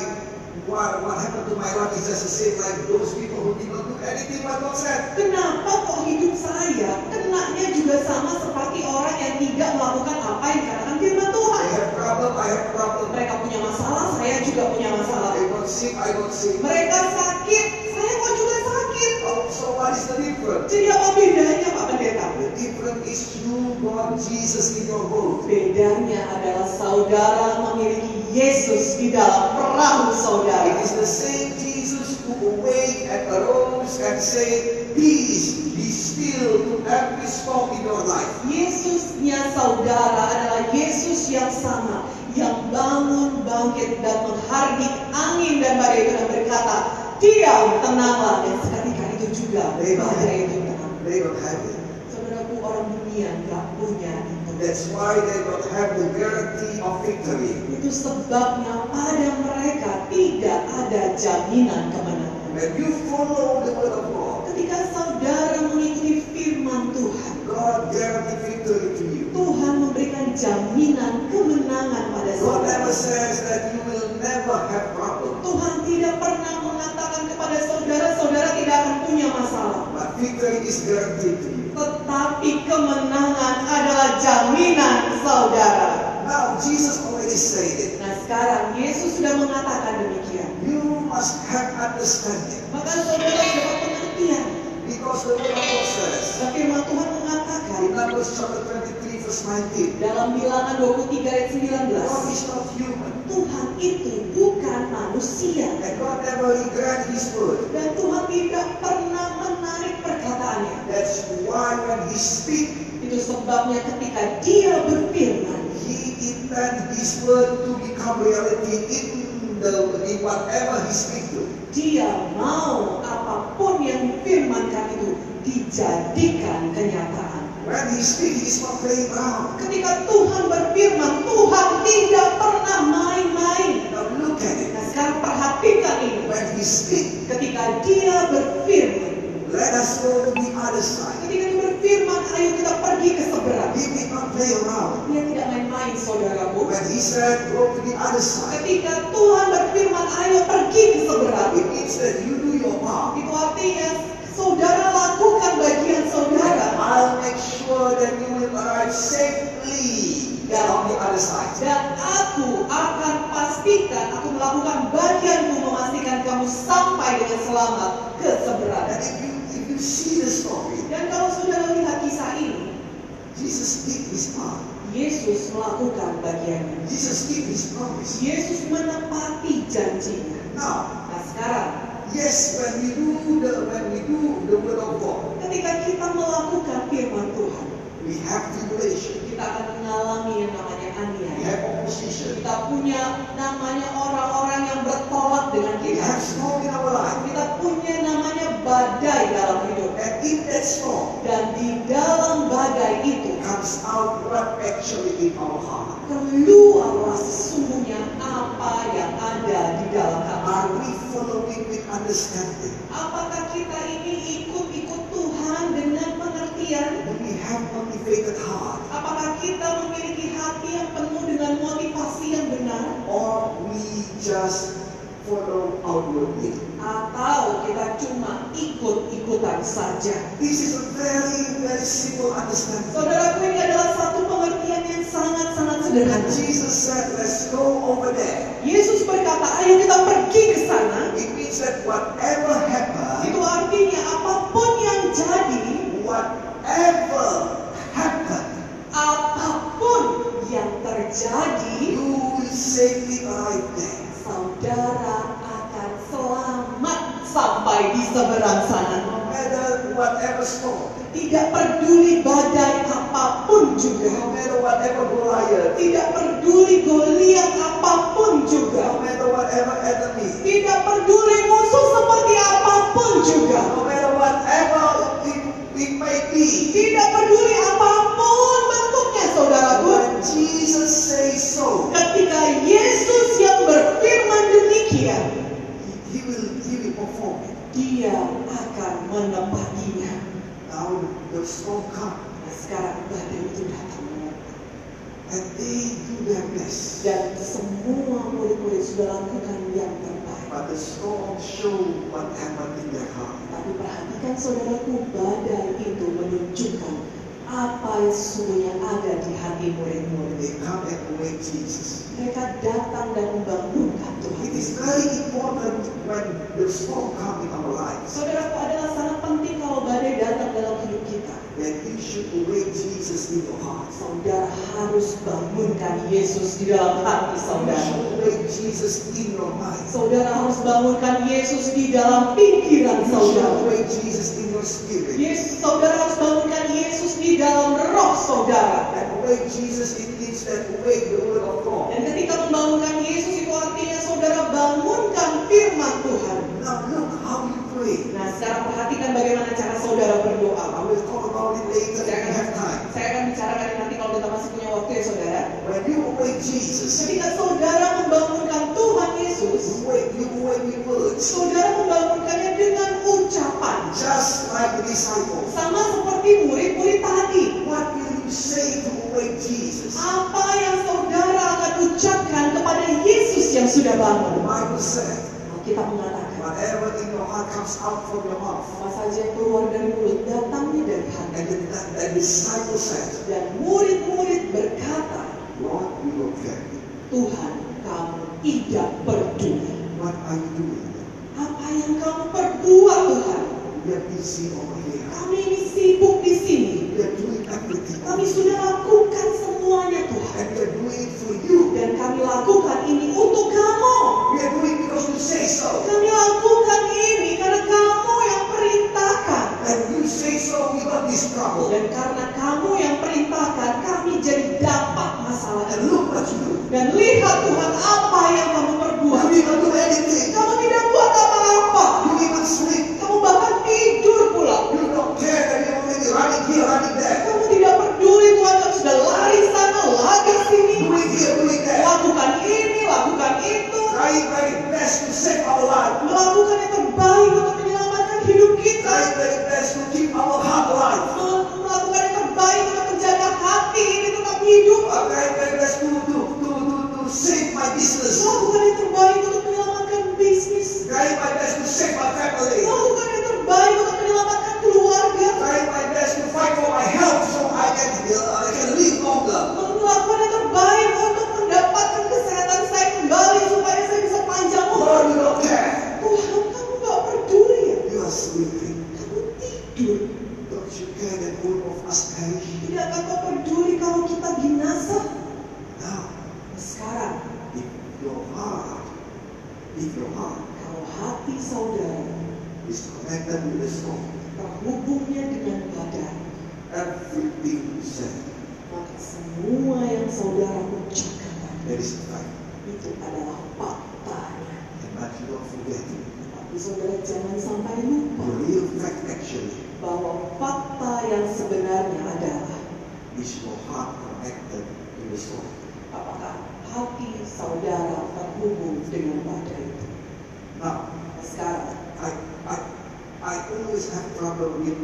B: why, what happened to my life is just the same like those people who did not do anything but God said.
A: Kenapa kok hidup saya kenanya juga sama seperti orang yang tidak melakukan apa yang dikatakan firman
B: I
A: Tuhan?
B: have problem, I have problem.
A: Mereka punya masalah, saya juga punya masalah.
B: I got sick, I got sick.
A: Mereka sakit, saya kok juga sakit.
B: Oh, so what is the difference?
A: Jadi apa bedanya Pak Pendeta?
B: The difference is you got Jesus in your boat.
A: Bedanya adalah saudara memiliki Yesus di dalam perahu saudara.
B: It is the same Jesus who awake and arose and said, Peace, be still to every storm in your life.
A: Yesusnya saudara adalah Yesus yang sama yang bangun bangkit dan menghardik angin dan badai itu dan berkata diam tenanglah dan seketika itu juga badai itu tenang
B: They don't have it.
A: saudaraku orang dunia nggak punya itu
B: That's why they don't have the guarantee of victory.
A: itu sebabnya pada mereka tidak ada jaminan kemenangan
B: When you follow the word of God,
A: ketika saudara mengikuti firman Tuhan
B: God guarantee victory to you.
A: Tuhan memberikan jaminan kemenangan pada
B: God
A: saudara
B: never says that you will never have problem,
A: Tuhan tidak pernah mengatakan kepada saudara, saudara tidak akan punya masalah.
B: but victory is guaranteed to you.
A: Tetapi kemenangan adalah jaminan saudara.
B: Now Jesus already said it.
A: Nah sekarang Yesus sudah mengatakan demikian.
B: You must have understanding
A: Maka saudara harus dapat pengertian.
B: because the word of God says
A: Nah, Firman Tuhan mengatakan
B: in Numbers chapter 23 verse 19,
A: dalam bilangan 23
B: God
A: ayat 19.
B: is not human
A: Tuhan itu bukan manusia.
B: and God never regret His word.
A: Dan Tuhan tidak pernah menarik perkataannya.
B: That's why when He speaks,
A: Itu sebabnya ketika dia berfirman,
B: He intends His word to become reality in the in whatever He speaks to.
A: Dia mau apapun yang difirmankan itu dijadikan kenyataan.
B: When he speaks, he's not playing around.
A: Ketika Tuhan berfirman, Tuhan tidak pernah main-main.
B: Now look at it.
A: Nah sekarang perhatikan ini.
B: When he speaks,
A: Ketika dia berfirman,
B: let us go to the other side.
A: ketika dia berfirman, ayo kita pergi ke seberang.
B: He did not play around.
A: Dia tidak main-main, saudaraku.
B: When he said, go to the other side,
A: Ketika Tuhan berfirman, ayo pergi ke seberang.
B: it means that you do your part.
A: Itu artinya saudara lakukan bagian saudara.
B: I'll make sure that you will arrive safely there on the other side.
A: Dan aku akan pastikan, aku melakukan bagianku memastikan kamu sampai dengan penyelamat ke seberang.
B: And if you, if you see the story,
A: Dan kalau saudara lihat kisah ini,
B: Jesus did his part.
A: Yesus melakukan bagiannya.
B: Jesus did his promise.
A: Yesus menepati janjinya.
B: Now,
A: Nah sekarang,
B: yes, when we do the when we do the word of God,
A: ketika kita melakukan firman Tuhan,
B: we have tribulation,
A: kita akan mengalami yang namanya
B: we
A: aniaya.
B: have opposition,
A: Kita punya namanya orang-orang yang bertolak dengan
B: we
A: kita.
B: have storm in our life.
A: Kita punya namanya badai dalam hidup.
B: And in that storm
A: Dan di dalam badai itu
B: comes out what actually in our heart.
A: keluarlah sesungguhnya apa yang ada di dalam
B: Are
A: hati.
B: we following with understanding?
A: Apakah kita ini ikut-ikut Tuhan dengan pengertian?
B: Do we have motivated heart?
A: Apakah kita memiliki hati yang penuh dengan motivasi yang benar?
B: Or we just follow outwardly?
A: Atau kita cuma ikut-ikutan saja?
B: This is a very, very simple understanding.
A: Saudaraku ini adalah satu pengertian yang sangat-sangat
B: And
A: sederhana.
B: Jesus said, let's go over there.
A: Yesus berkata, ayo kita pergi ke sana.
B: It means that whatever happens,
A: Itu artinya apapun yang jadi,
B: whatever happened,
A: apapun yang terjadi,
B: you will safely arrive there.
A: saudara akan selamat sampai di seberang sana.
B: No matter whatever storm,
A: Tidak peduli badai apapun
B: no
A: juga.
B: matter whatever Goliath,
A: Tidak peduli goliat
B: no
A: apapun juga.
B: matter whatever enemy,
A: Tidak peduli musuh seperti apapun juga.
B: no matter whatever it, it may be,
A: Tidak peduli apapun bentuknya saudaraku.
B: when Jesus says so,
A: Ketika Yesus yang berfirman demikian,
B: he, he will he will perform it.
A: dia akan menepatinya.
B: Now the storm comes
A: Nah sekarang badai itu datang.
B: and they do their best.
A: Dan semua murid-murid sudah lakukan yang terbaik.
B: But the storm showed what happened in their heart.
A: Tapi perhatikan saudaraku, badai itu menunjukkan apa yang sesungguhnya ada di hati murid-murid.
B: They come and await Jesus.
A: Mereka datang dan membangunkan
B: It
A: Tuhan.
B: is very important when the storm comes in our lives
A: Saudaraku adalah sangat penting kalau badai datang dalam hidup kita.
B: that you should await Jesus in your heart.
A: Saudara harus bangunkan Yesus di dalam hati
B: You
A: saudara.
B: should await Jesus in your mind.
A: Saudara harus bangunkan Yesus di dalam pikiran
B: You should
A: saudara.
B: await Jesus in your spirit.
A: Yesus, saudara harus bangunkan Yesus di dalam roh saudara.
B: And await Jesus in things that await the word of God.
A: Dan ketika membangunkan Yesus itu artinya saudara bangunkan firman Tuhan.
B: Now look how you pray.
A: Nah sekarang perhatikan bagaimana cara
B: I
A: saudara berdoa.
B: will talk about it later if we have time.
A: Saya akan bicarakan ini nanti kalau kita masih punya waktu ya saudara.
B: When you await Jesus,
A: Ketika saudara membangunkan Tuhan Yesus,
B: you wait, you wait with words.
A: saudara membangunkannya dengan ucapan.
B: Just like the disciples.
A: Sama seperti murid-murid tadi.
B: What will you say to await Jesus?
A: Apa yang saudara akan ucapkan kepada Yesus yang sudah
B: The
A: bangun?
B: Bible said,
A: Kita mengatakan,
B: whatever in your heart comes out from your mouth.
A: apa saja yang keluar dari mulut datangnya dari hati.
B: And the, the disciples said,
A: Dan murid-murid berkata,
B: Lord, we don't care.
A: Tuhan kamu tidak peduli.
B: What are you doing?
A: Apa yang kamu perbuat Tuhan?
B: We are busy over here.
A: Kami ini sibuk di sini.
B: We are doing everything.
A: Kami sudah lakukan semuanya Tuhan.
B: And we are doing it for you.
A: Dan kami lakukan ini untuk kamu.
B: We are doing it because you say so.
A: Kami lakukan ini karena kamu yang perintahkan.
B: And you say so, we got this problem.
A: Dan karena kamu yang perintahkan, kami jadi dapat masalah
B: And
A: itu.
B: look what you do.
A: Dan lihat Tuhan apa yang kamu perbuat.
B: You didn't do anything.
A: Kamu tidak buat apa-apa.
B: You even sleep.
A: Kamu bahkan tidur pula.
B: You don't care that you're already running here, running there.
A: Kamu tidak peduli Tuhan kamu sudah lari sana, lari sini.
B: Doing here, doing there.
A: Lakukan ini, lakukan itu.
B: Trying very best to save our life.
A: Melakukan yang terbaik untuk menyelamatkan hidup kita.
B: Trying very best to keep our heart alive.
A: Melakukan yang terbaik untuk menjaga hati ini tetap hidup.
B: I'm trying very best to, to, to, to, to save my business.
A: Lakukan yang terbaik untuk menyelamatkan bisnis.
B: Trying my best to save my family.
A: Lakukan yang terbaik untuk menyelamatkan keluarga.
B: Trying my best to fight for my health so I can, uh, I can live longer.
A: Lakukan yang terbaik untuk mendapatkan kesehatan saya kembali supaya saya bisa panjang umur.
B: Lord, you don't care.
A: Tuhan, kamu gak peduli ya? tidur.
B: Don't you care that all of us perish?
A: Tidakkah kau peduli kalau kita binasa?
B: Now,
A: Sekarang,
B: if your heart, if your heart
A: kalau hati saudara
B: is connected with the soul,
A: terhubungnya dengan badan,
B: everything you said,
A: maka semua yang saudara ucapkan tadi
B: there is a fact.
A: itu adalah faktanya.
B: And but you don't forget it.
A: Tapi saudara jangan sampai lupa
B: The real fact actually
A: bahwa fakta yang sebenarnya adalah
B: is your heart connected to the soul.
A: apakah hati saudara terhubung dengan badan itu.
B: Now,
A: Nah, sekarang,
B: I, I, I always have trouble with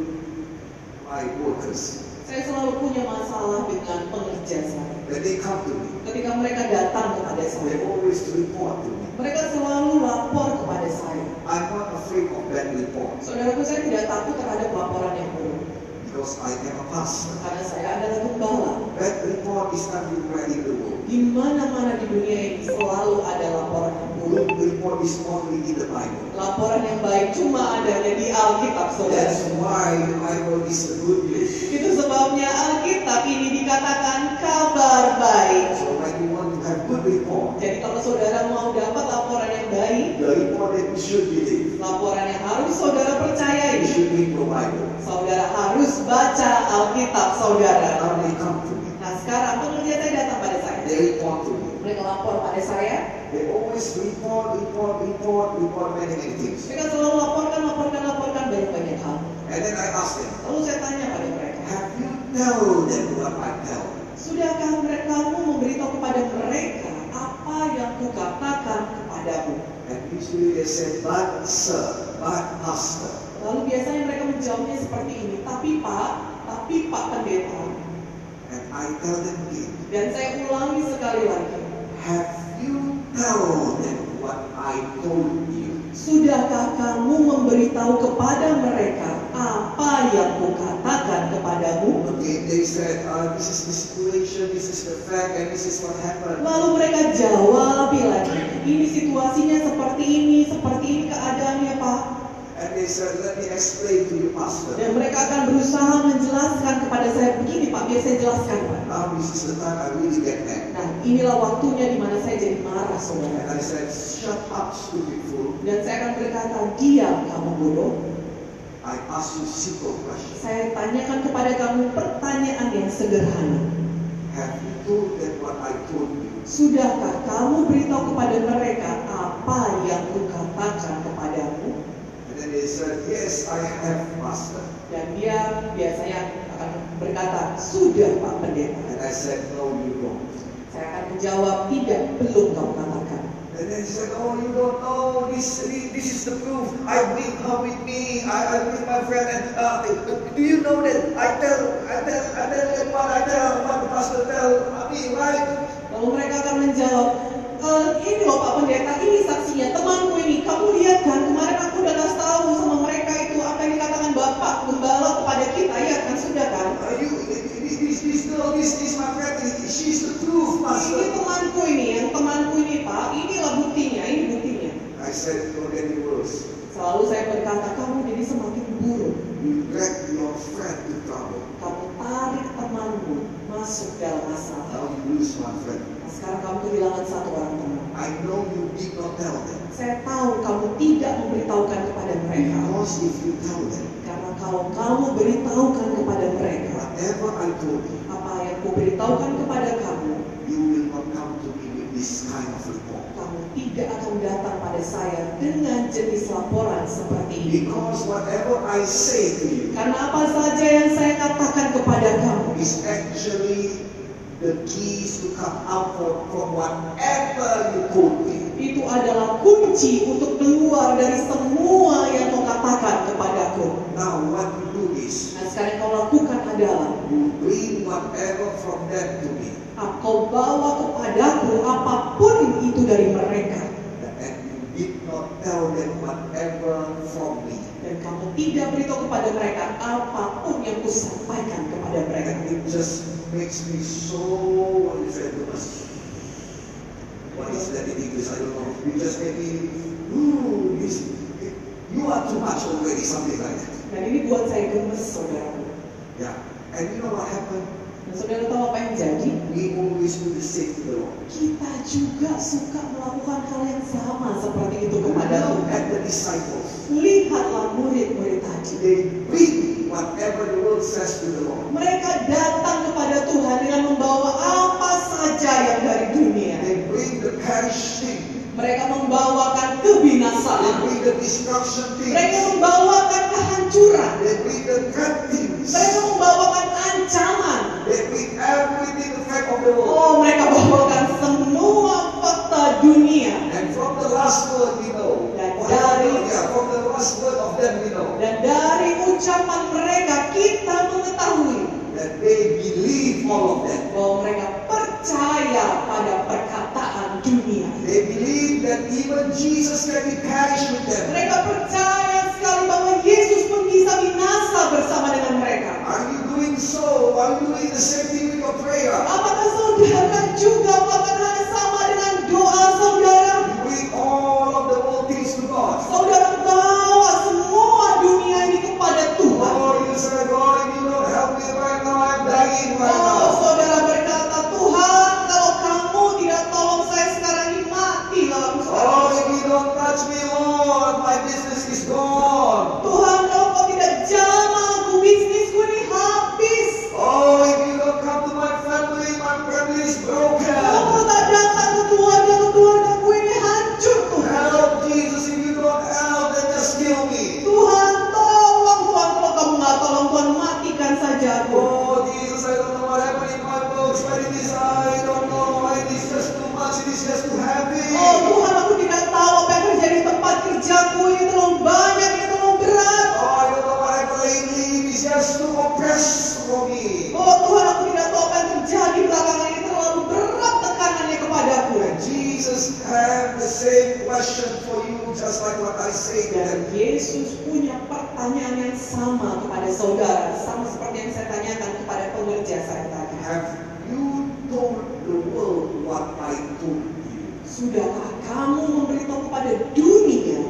B: my workers.
A: saya selalu punya masalah dengan pekerja saya.
B: When they come to me,
A: Ketika mereka datang kepada saya,
B: they always report to me.
A: mereka selalu lapor kepada saya.
B: I'm not afraid of bad reports
A: Saudaraku, saya tidak takut terhadap laporan yang buruk
B: because I am a pastor.
A: karena saya adalah gembala.
B: Bad report is everywhere in the world.
A: Di mana-mana di dunia ini selalu ada laporan yang buruk.
B: Good report is only in the Bible.
A: Laporan yang baik cuma adanya di Alkitab, saudara.
B: That's why the Bible is the good news.
A: Itu sebabnya Alkitab ini dikatakan kabar baik.
B: So when you want to have good report,
A: Jadi kalau saudara mau dapat laporan yang baik,
B: the report that you should believe,
A: laporan yang harus saudara percayai,
B: you should read the Bible.
A: saudara harus baca Alkitab saudara.
B: Now they come to me,
A: Nah sekarang pekerja saya datang pada saya.
B: they report to me.
A: Mereka lapor pada saya,
B: They always report, report, report, report many, many things.
A: mereka selalu laporkan, laporkan, laporkan banyak-banyak hal.
B: And then I ask them,
A: Lalu saya tanya pada mereka,
B: have you told them what I tell?
A: Sudahkah mereka kamu memberitahu kepada mereka apa yang kukatakan kepadamu?
B: And usually they say, but sir, but pastor.
A: Lalu biasanya mereka menjawabnya seperti ini, tapi Pak, tapi Pak Pendeta.
B: And I tell them again,
A: Dan saya ulangi sekali lagi,
B: have you told them what I told you?
A: sudahkah kamu memberitahu kepada mereka apa yang kukatakan kepadamu?
B: Okay, they said, uh, this is the situation, this is the fact, and this is what happened.
A: Lalu mereka jawab lagi, ini situasinya seperti ini, seperti ini keadaannya Pak.
B: And they said, let me explain to you, pastor.
A: Dan mereka akan berusaha menjelaskan kepada saya begini Pak, biar saya jelaskan Pak.
B: Now this is the time I really get mad.
A: Nah, inilah waktunya di mana saya jadi marah,
B: And
A: saudara.
B: I said, shut up, stupid fool.
A: Dan saya akan berkata, diam kamu bodoh.
B: I asked you simple question.
A: Saya tanyakan kepada kamu pertanyaan yang sederhana.
B: Have you told them what I told you?
A: Sudahkah kamu beritahu kepada mereka apa yang kukatakan kepadamu?
B: And then they said, yes, I have, pastor.
A: Dan dia biasanya akan berkata, sudah Pak Pendeta.
B: And I said, no, you don't.
A: Saya akan menjawab, tidak, belum kamu katakan.
B: And then he said, Oh, you don't know this. This is the proof. I bring her with me. I, I bring my friend. And uh, do you know that I tell, I tell, I tell them what I tell, what the pastor tell me, right?
A: Lalu mereka akan menjawab, e, ini loh Pak Pendeta, ini saksinya temanku ini. Kamu lihat kan, kemarin aku udah kasih tahu sama mereka itu apa yang dikatakan Bapak gembala kepada kita, ya kan sudah kan?
B: Uh, you, this, this, this girl, this, this my friend. This, she's the proof,
A: Ini
B: pastor.
A: temanku ini, yang temanku ini Pak, inilah buktinya, ini buktinya.
B: I said, no, that it was.
A: Selalu saya berkata, kamu jadi semakin buruk.
B: You drag your friend to trouble.
A: Kamu tarik temanmu masuk dalam masalah.
B: Now you lose one friend.
A: Nah, sekarang kamu kehilangan satu orang teman.
B: I know you did not tell them.
A: Saya tahu kamu tidak memberitahukan kepada mereka.
B: Because if you tell them,
A: Karena kalau kamu beritahukan kepada mereka,
B: whatever I told you,
A: apa yang kuberitahukan kepada kamu,
B: you will not come to me with this kind of report.
A: kamu tidak akan datang pada saya dengan jenis laporan seperti ini.
B: Because whatever I say to you
A: Karena apa saja yang saya katakan kepada kamu
B: is actually the keys to come out from, from whatever you told me.
A: itu adalah kunci untuk keluar dari semua yang kau katakan kepadaku.
B: Now, what you do is
A: Nah, sekarang yang kau lakukan adalah
B: you bring whatever from them to me,
A: ah, kau bawa kepadaku apapun itu dari mereka
B: and you did not tell them whatever from me.
A: dan kamu tidak beritahu kepada mereka apapun yang kusampaikan kepada mereka.
B: And it just makes me so what is that? What is that in English? I don't know. You just make me, ooh, this, you are too much already, something like that.
A: Dan ini buat saya gemes saudara.
B: Yeah. And you know what happened?
A: Dan saudara tahu apa yang jadi?
B: We always do the same to the Lord.
A: Kita juga suka melakukan hal yang sama seperti itu
B: Look
A: kepada Tuhan.
B: at the disciples.
A: Lihatlah murid-murid tadi.
B: They bring whatever the world says to the Lord.
A: Mereka datang kepada Tuhan dengan membawa apa saja yang dari dunia.
B: They bring the perish thing.
A: Mereka
B: They
A: membawakan kebinasaan.
B: bring the destruction
A: Mereka
B: things.
A: membawakan kehancuran.
B: They bring the threat things.
A: Mereka membawakan ancaman.
B: They bring everything the fact of the world.
A: Oh, mereka bawakan semua fakta dunia.
B: And from the last word we know.
A: That
B: Or from the-
A: is-
B: yeah, from the last word of them we know.
A: Dan dari ucapan mereka kita mengetahui
B: That they believe all of that.
A: bahwa mereka percaya pada perkataan dunia.
B: They believe that even Jesus can be perished with them.
A: Mereka percaya sekali bahwa Yesus pun bisa binasa bersama dengan mereka.
B: Are you doing so? Are you doing the same thing with your prayer?
A: Apakah saudara kan juga melakukan hal yang sama dengan doa saudara?
B: You bring all of the old things to God.
A: Saudara bawa semua dunia ini kepada Tuhan.
B: Lord, you say, Lord, if you don't help me right now, I'm dying right
A: Oh,
B: now.
A: saudara berkata, Tuhan, kalau kamu tidak tolong saya sekarang ini, matilah aku sekarang.
B: Lord, Oh, if you don't touch me, Lord, my business is gone.
A: Tuhan, kalau kau tidak jama aku, bisnisku ini habis.
B: Oh, if you don't come to my family, my family is
A: Kalau
B: broken.
A: kau tak datang ke keluarga, ke keluarga ku ini hancur, Tuhan.
B: Help, Jesus, if you don't help, then just kill me.
A: Tuhan, tolong Tuhan, kalau kamu nggak tolong Tuhan, matikan saja aku.
B: Oh, Jesus, I don't know what happened in my books, but it is, I don't know, it is just too much, it is just too
A: Oh
B: heavy.
A: Tuhan, aku tidak tahu apa yang terjadi di tempat kerjaku ini terlalu banyak, ini terlalu berat.
B: Oh, I don't know what happened lately, it is just too oppressed for me.
A: Oh Tuhan, aku tidak tahu apa yang terjadi belakangan ini terlalu berat tekanannya kepadaku.
B: And Jesus had the same question for you, just like what I say to
A: Dan
B: them.
A: Yesus punya pertanyaan yang sama kepada saudara, sama seperti yang saya tanyakan kepada pengerja saya tadi.
B: Have you told the world what I told you?
A: Sudahkah kamu memberitahu kepada dunia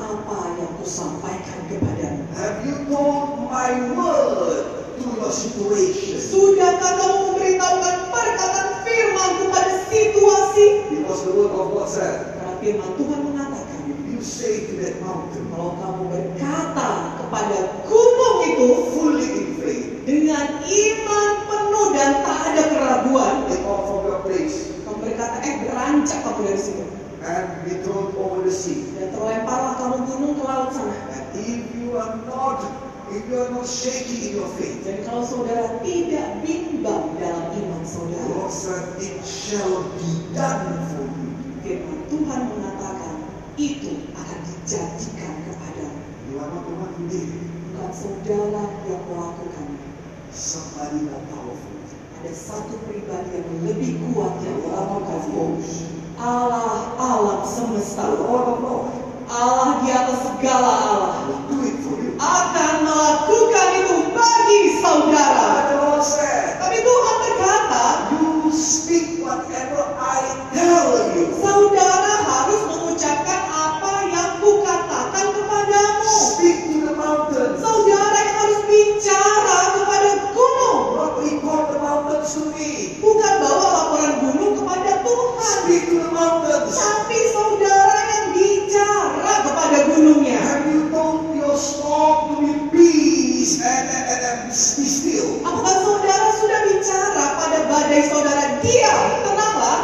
A: apa yang kusampaikan kepadamu?
B: Have you told my word to your situation?
A: Sudahkah kamu memberitahukan perkataan firman kepada situasi?
B: Because the word of God said,
A: Karena firman Tuhan mengatakan,
B: if you say to that mountain,
A: Kalau kamu berkata kepada gunung itu
B: fully in faith,
A: dengan iman penuh dan tak ada keraguan,
B: take off from your place
A: kamu berkata, eh beranjak kamu dari situ
B: and be thrown over the sea.
A: dan terlemparlah kamu gunung ke laut sana.
B: And if you are not, if you are not shaky in your faith,
A: Dan kalau saudara tidak bimbang dalam iman
B: the
A: saudara,
B: Lord said, it shall be done for you.
A: firman Tuhan mengatakan itu akan dijadikan kepada
B: You are not the one who did it.
A: bukan saudara yang melakukannya.
B: Somebody more powerful.
A: Ada satu pribadi yang lebih kuat
B: The
A: yang
B: Lord of
A: melakukannya.
B: hosts.
A: Allah alam semesta.
B: The Lord of Lords
A: Allah di atas segala Allah
B: will do it for you.
A: akan melakukan itu bagi saudara.
B: But the Lord said,
A: Tapi Tuhan berkata,
B: You speak whatever I tell you.
A: saudara harus mengucapkan apa yang kukatakan kepadamu.
B: Speak to the mountains.
A: Saudara yang harus bicara kepada gunung,
B: Not report the mountains to me.
A: bukan bawa laporan gunung kepada Tuhan.
B: Speak to the mountains.
A: Tapi saudara yang bicara kepada gunungnya.
B: Have you told your storm to be peace and, and, and, and be still?
A: Apakah saudara sudah bicara pada badai saudara? Diam, tenanglah.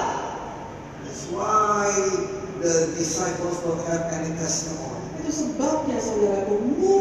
B: That's why the disciples don't have any testimony.
A: Itu sebabnya saudaraku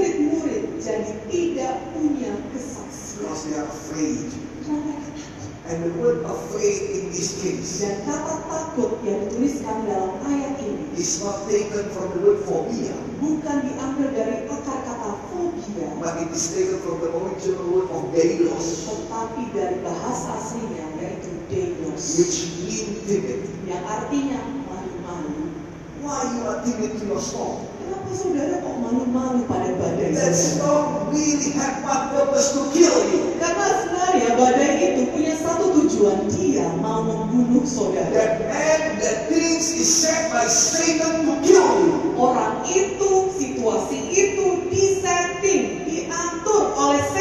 A: murid-murid jadi tidak punya kesaksian.
B: Because they are afraid.
A: Karena mereka takut.
B: And the word afraid in this case
A: Dan kata takut yang dituliskan dalam ayat ini
B: is not taken from the word phobia,
A: bukan diambil dari akar kata fobia,
B: but it is taken from the original word of delos,
A: tetapi dari bahasa aslinya yaitu deios,
B: which means timid.
A: yang artinya malu-malu.
B: Why you are timid to your storm?
A: Kenapa saudara kok malu-malu pada badai
B: That
A: saudara?
B: storm really had one purpose to kill you.
A: Karena sebenarnya badai itu punya satu tujuan, dia mau membunuh saudara.
B: That man, that things is sent by Satan to kill you.
A: Orang itu, situasi itu disetting, diatur oleh saudara.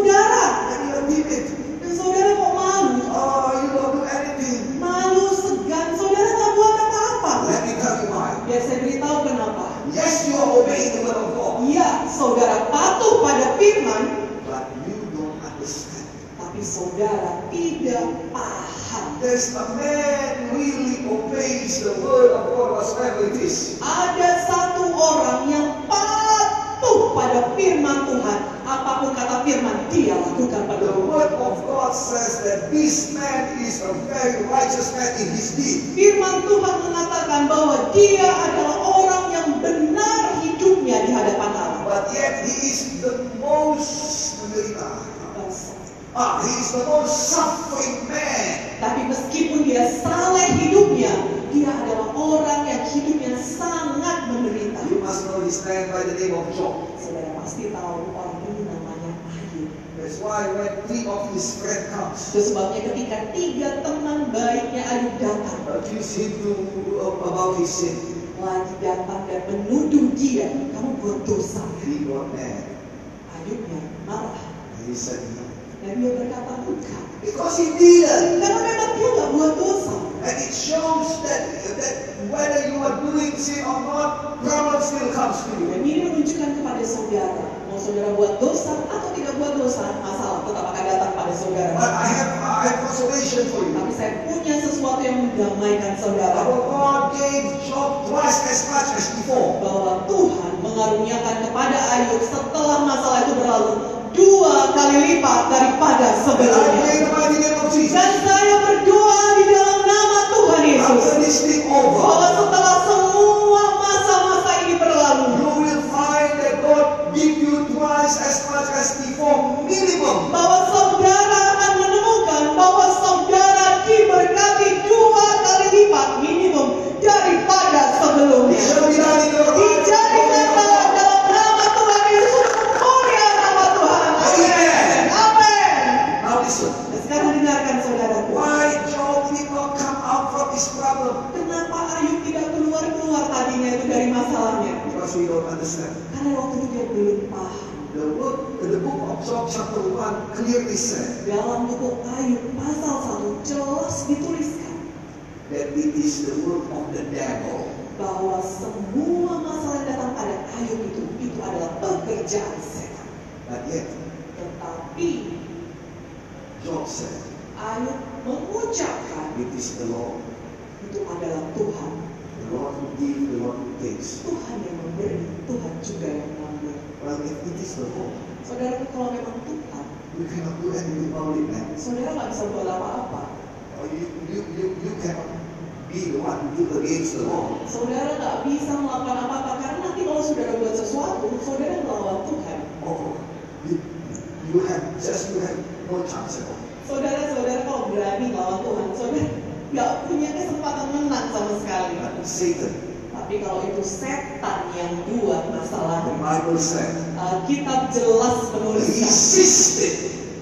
B: and you did it.
A: Dan saudara kok malu?
B: Oh, you don't do anything.
A: Malu, segan. Saudara tak buat apa-apa.
B: Let me tell you why.
A: Biar saya beritahu kenapa.
B: Yes, you are obeying the word of God,
A: Iya, saudara patuh pada firman,
B: but you don't understand.
A: tapi saudara tidak paham.
B: There's a man really obeys the word of God whatsoever it is.
A: Ada satu orang yang patuh pada firman Tuhan. Apapun kata firman, dia lakukan pada
B: The
A: Tuhan.
B: word of God says that this man is a very righteous man in his deed.
A: Firman Tuhan mengatakan bahwa dia adalah orang yang benar hidupnya di hadapan Allah.
B: But yet he is the most ah, he is the most suffering man.
A: Tapi meskipun dia saleh hidupnya, dia adalah orang yang hidupnya sangat menderita.
B: You must know this man by the name of Job.
A: Saudara pasti tahu orang ini namanya Ayub.
B: That's why when three of his friends comes,
A: Itu sebabnya ketika tiga teman baiknya Ayub datang,
B: accuse him to, uh, about his sin.
A: lagi datang dan menuduh dia, kamu buat dosa.
B: He got mad.
A: Ayubnya marah
B: He said no.
A: dan dia berkata bukan.
B: Because he didn't.
A: Karena memang dia nggak buat dosa.
B: And it shows that, that whether you are doing sin or not, problem still comes to you.
A: Dan ini menunjukkan kepada saudara, mau saudara buat dosa atau tidak buat dosa, masalah tetap akan datang pada saudara.
B: But I have I have consolation for you.
A: Tapi saya punya sesuatu yang mendamaikan
B: Our
A: saudara.
B: God gave Job twice as much as before.
A: Bahwa Tuhan mengaruniakan kepada Ayub setelah masalah itu berlalu dua kali lipat daripada
B: And I
A: sebelumnya.
B: pray in the mighty name of Jesus.
A: Dan saya berdoa di dalam nama Tuhan Yesus.
B: After this thing
A: Bahwa
B: over,
A: setelah semua masa-masa ini berlalu.
B: you will find that God give you twice as much as before, minimum.
A: Bahwa saudara akan menemukan bahwa saudara diberkati dua kali lipat minimum daripada
B: It
A: sebelumnya.
B: shall be done in your life.
A: Dijadikan dalam dalam nama Tuhan Yesus mulia nama Tuhan.
B: Amen.
A: Amin.
B: Now listen.
A: Nah, Sekarang dengarkan saudaraku.
B: Why Job did not come out from his problem?
A: Kenapa Ayub tidak keluar keluar tadinya itu dari masalahnya?
B: Because we don't understand.
A: Karena waktu itu dia belum paham.
B: The book, the book of Job chapter 1 clearly said
A: Dalam buku Ayub pasal 1 jelas dituliskan
B: that it is the work of the devil.
A: bahwa semua masalah yang datang pada Ayub itu itu adalah pekerjaan setan.
B: But yet,
A: Tetapi
B: Job said,
A: Ayub mengucapkan
B: it is the Lord.
A: itu adalah Tuhan
B: The Lord who gives, the Lord who takes.
A: Tuhan yang memberi, Tuhan juga yang mengambil.
B: Well, if it is the Lord,
A: Saudara kalau memang Tuhan,
B: you cannot do anything about it, man.
A: saudara nggak bisa buat apa-apa.
B: Or you, you, you, you cannot be the one who do against the Lord.
A: Saudara nggak bisa melakukan apa-apa karena nanti kalau saudara buat sesuatu, saudara melawan Tuhan.
B: Or you, you have just you have no chance at all.
A: Saudara-saudara kalau berani melawan Tuhan, saudara nggak punya kesempatan menang sama sekali.
B: But Satan,
A: Tapi kalau itu setan yang buat
B: the
A: masalahnya,
B: Bible said,
A: kitab jelas menuliskan
B: resisted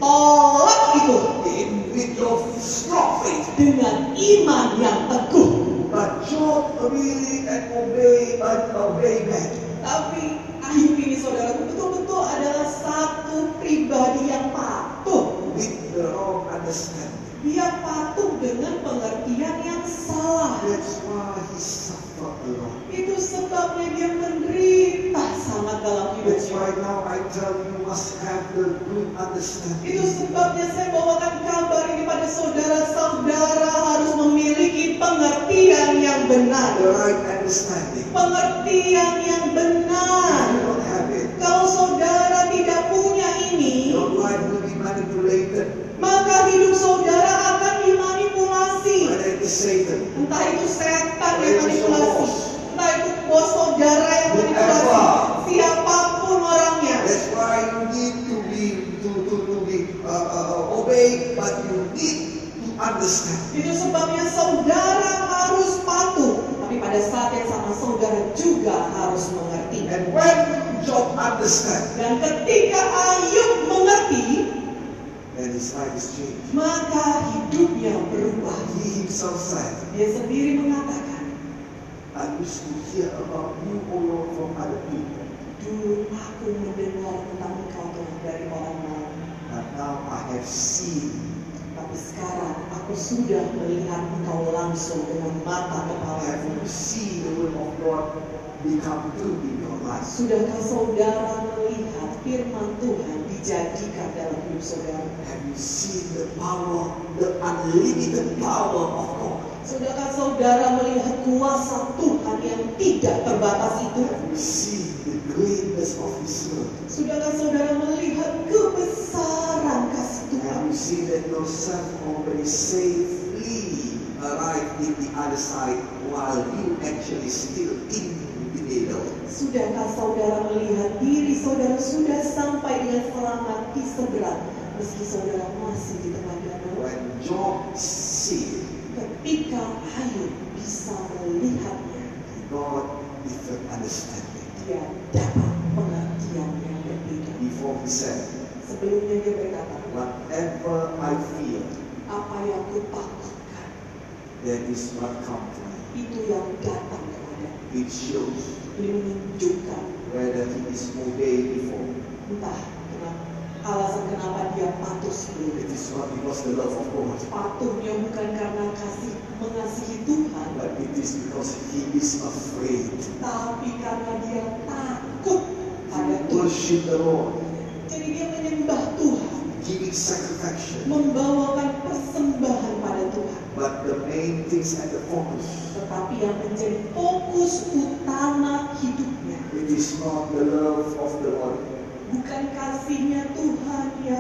A: tolak itu
B: him with your strong faith.
A: dengan iman yang teguh.
B: But Job really and obey and obey man.
A: Tapi Ayub ini saudaraku betul-betul adalah satu pribadi yang patuh.
B: with the wrong understanding.
A: Dia patuh dengan pengertian yang salah.
B: That's why he suffered a lot.
A: Itu sebabnya dia menderita sangat dalam
B: That's
A: hidupnya.
B: why now I tell you must have the good understanding.
A: Itu sebabnya saya bawakan kabar ini pada saudara-saudara harus memiliki pengertian yang benar.
B: The right understanding.
A: Pengertian yang
B: If you
A: benar.
B: don't have it,
A: Kalau saudara tidak punya ini,
B: your life will be manipulated
A: maka hidup saudara akan dimanipulasi.
B: whether it is Satan,
A: Entah itu setan yang manipulasi, entah itu bos saudara yang manipulasi, siapapun orangnya.
B: That's why you need to be to to, to be uh, uh, uh, obey, but you need to understand.
A: Itu sebabnya saudara harus patuh, tapi pada saat yang sama saudara juga harus mengerti.
B: And when Job understand,
A: Dan ketika Ayub mengerti,
B: then his life is changed.
A: maka hidupnya berubah.
B: He himself said,
A: Dia sendiri mengatakan,
B: "I used to hear about you, O Lord, from other people,
A: dulu aku mendengar tentang engkau Tuhan dari orang lain,
B: have seen.
A: Tapi sekarang aku sudah melihat engkau langsung dengan mata
B: I
A: kepalaku.
B: have seen the will of God become true in your life.
A: Sudahkah saudara melihat firman Tuhan dijadikan dalam hidup saudara?
B: Have you seen the power, the unlimited power of God?
A: Sudahkah saudara melihat kuasa Tuhan yang tidak terbatas itu?
B: Have you seen the greatness of His love?
A: Sudahkah saudara melihat kebesaran kasih Tuhan?
B: Have you seen that yourself already safely arrived in the other side while you actually still in the middle?
A: Sudahkah saudara melihat diri saudara sudah sampai dengan selamat di seberang meski saudara masih di tengah danau?
B: When Job said,
A: Ketika Ayub bisa melihatnya,
B: God different understanding.
A: dia dapat pengertian yang berbeda.
B: Before he said,
A: Sebelumnya dia berkata,
B: whatever I feel,
A: apa yang ku takutkan
B: that is what comes to me.
A: itu yang datang kepada
B: It shows
A: Ini menunjukkan
B: whether he is obeyed before.
A: entah kenapa alasan kenapa dia patuh
B: It
A: sebelumnya.
B: is not because the love of God,
A: Patuhnya bukan karena kasih mengasihi Tuhan,
B: but it is because he is afraid.
A: tapi karena dia takut pada
B: He
A: Tuhan.
B: worship the Lord,
A: Jadi dia menyembah Tuhan,
B: giving sacrifice.
A: membawakan persembahan pada Tuhan.
B: But the main things at the focus,
A: Tetapi yang menjadi fokus utama hidupnya
B: it is not the love of the Lord.
A: bukan kasihnya Tuhan ya,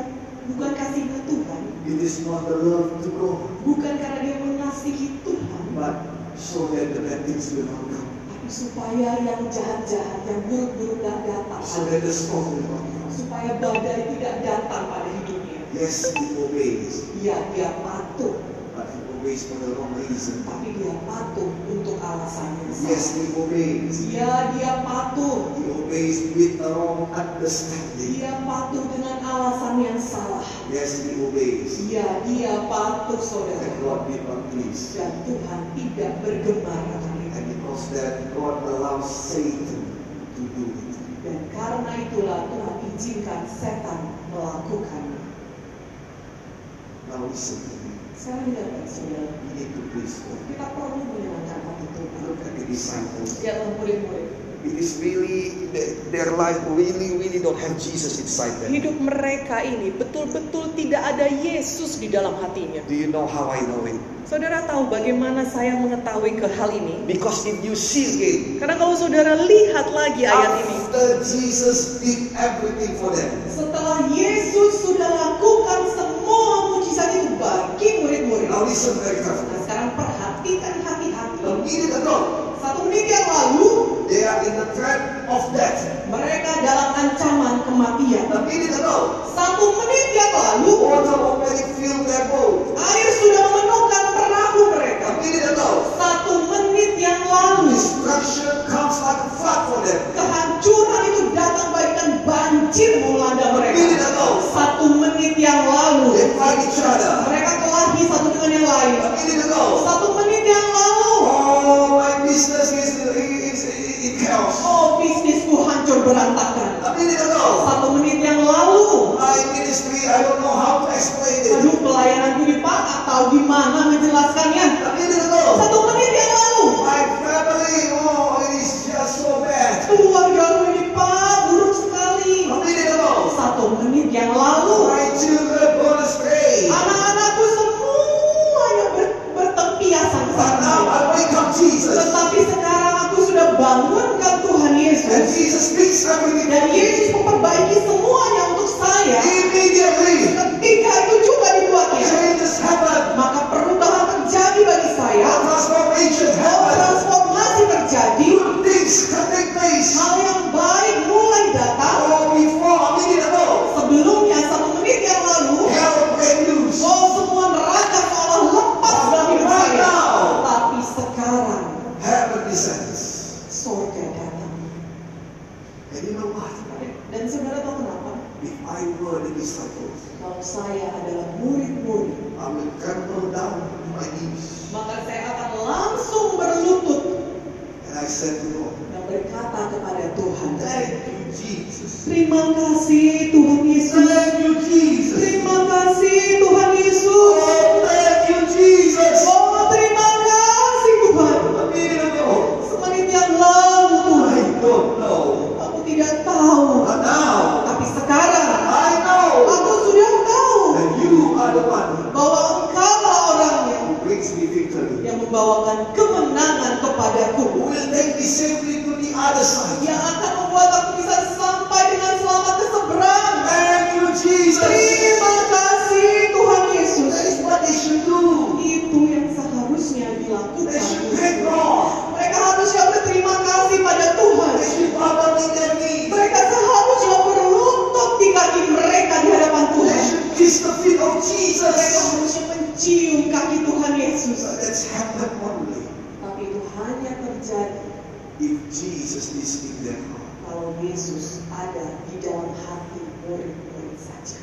A: bukan kasihnya Tuhan,
B: It is not the love to God,
A: bukan karena dia mengasihi Tuhan,
B: but so that the bad things will not come.
A: tapi supaya yang jahat-jahat, yang buruk-buruk tidak datang,
B: So that the storm will not come.
A: supaya badai tidak datang pada hidupnya.
B: Yes, he obeys,
A: Ya, dia patuh,
B: but he obeys for the wrong reason.
A: tapi dia patuh untuk alasannya.
B: Yes, he obeys.
A: Ya, dia patuh.
B: He obeys with a wrong understanding.
A: Dia patuh dengan alasan yang salah.
B: Yes, he obeys.
A: Ya, dia patuh,
B: And
A: saudara.
B: God did not please.
A: Dan Tuhan tidak bergemar akan itu.
B: And because that, God allows Satan to do it.
A: Dan karena itulah Tuhan izinkan setan melakukannya.
B: Now listen to me.
A: Sekarang kita baik, saudara.
B: We need to please God.
A: Kita perlu menyenangkan hati Tuhan.
B: Look at the disciples.
A: Lihatlah murid-murid.
B: It is really, their- their life really, really don't have Jesus inside them.
C: Hidup mereka ini betul-betul tidak ada Yesus di dalam hatinya.
B: Do you know how I know it?
C: Saudara tahu bagaimana saya mengetahui ke hal ini?
B: Because if you see it,
C: Karena kalau saudara lihat lagi ayat
B: Ah.
C: ini,
B: after Jesus did everything for them,
A: Setelah Yesus sudah lakukan semua mujizat itu bagi murid-murid.
B: Now listen very
A: Nah,
B: carefully.
A: sekarang perhatikan hati-hati.
B: A minute ago,
A: Satu menit yang lalu,
B: they are in the threat of death.
A: Mereka dalam ancaman kematian.
B: A minute ago,
A: Satu menit yang lalu,
B: water already filled their boat.
A: air sudah memenuhkan perahu mereka.
B: A minute ago,
A: Satu menit yang lalu,
B: destruction comes like a flood for them.
A: kehancuran itu datang bagaikan banjir
B: A
A: melanda mereka.
B: minute ago,
A: Satu menit yang lalu,
B: they fight each other.
A: mereka kelahi satu dengan yang lain.
B: A minute ago,
A: Satu menit yang lalu,
B: oh my business is, is, is in chaos.
A: oh bisnisku hancur berantakan.
B: A minute ago,
A: Satu menit yang lalu,
B: my ministry, I don't know how to explain it.
A: aduh pelayananku di Pak atau gimana menjelaskannya.
B: A minute ago,
A: Satu menit yang lalu,
B: my family, oh it is just so bad.
A: Keluargamu ini pak buruk
B: A
A: sekali.
B: minute ago,
A: Satu menit yang lalu,
B: My children gonna stay.
A: anak-anakku semuanya ber bertempiasan ke
B: But
A: sana.
B: now I wake up Jesus.
A: Tetapi sekarang aku sudah bangunkan Tuhan
B: And
A: Yesus.
B: Jesus fixed everything
A: Dan Yesus memperbaiki semuanya untuk saya.
B: immediately.
A: Ketika itu juga dibuatnya,
B: Changes happen.
A: maka perubahan terjadi bagi saya.
B: Transformation
A: Bahwa
B: happens.
A: transformasi terjadi,
B: Good things can take place.
A: hal yang baik mulai datang.
B: Oh, before a minute ago,
A: Sebelumnya satu menit yang lalu,
B: hell brand new.
A: So semua neraka seolah lepas dari hidup saya.
B: Wow.
A: Tapi sekarang
B: Heaven descends.
A: surga datang.
B: And you know what?
A: Dan saudara tahu kenapa?
B: If I were the disciples,
A: Kalau saya adalah murid-murid,
B: I will crumble down to my knees.
A: maka saya akan langsung berlutut
B: And I said to God,
A: dan berkata kepada Tuhan,
B: Thank you, Jesus.
A: Terima kasih Tuhan Yesus.
B: Thank you, Jesus. Oh,
A: Terima kasih Oh,
B: if Jesus is in their heart.
A: Kalau Yesus ada di dalam hati murid-murid saja.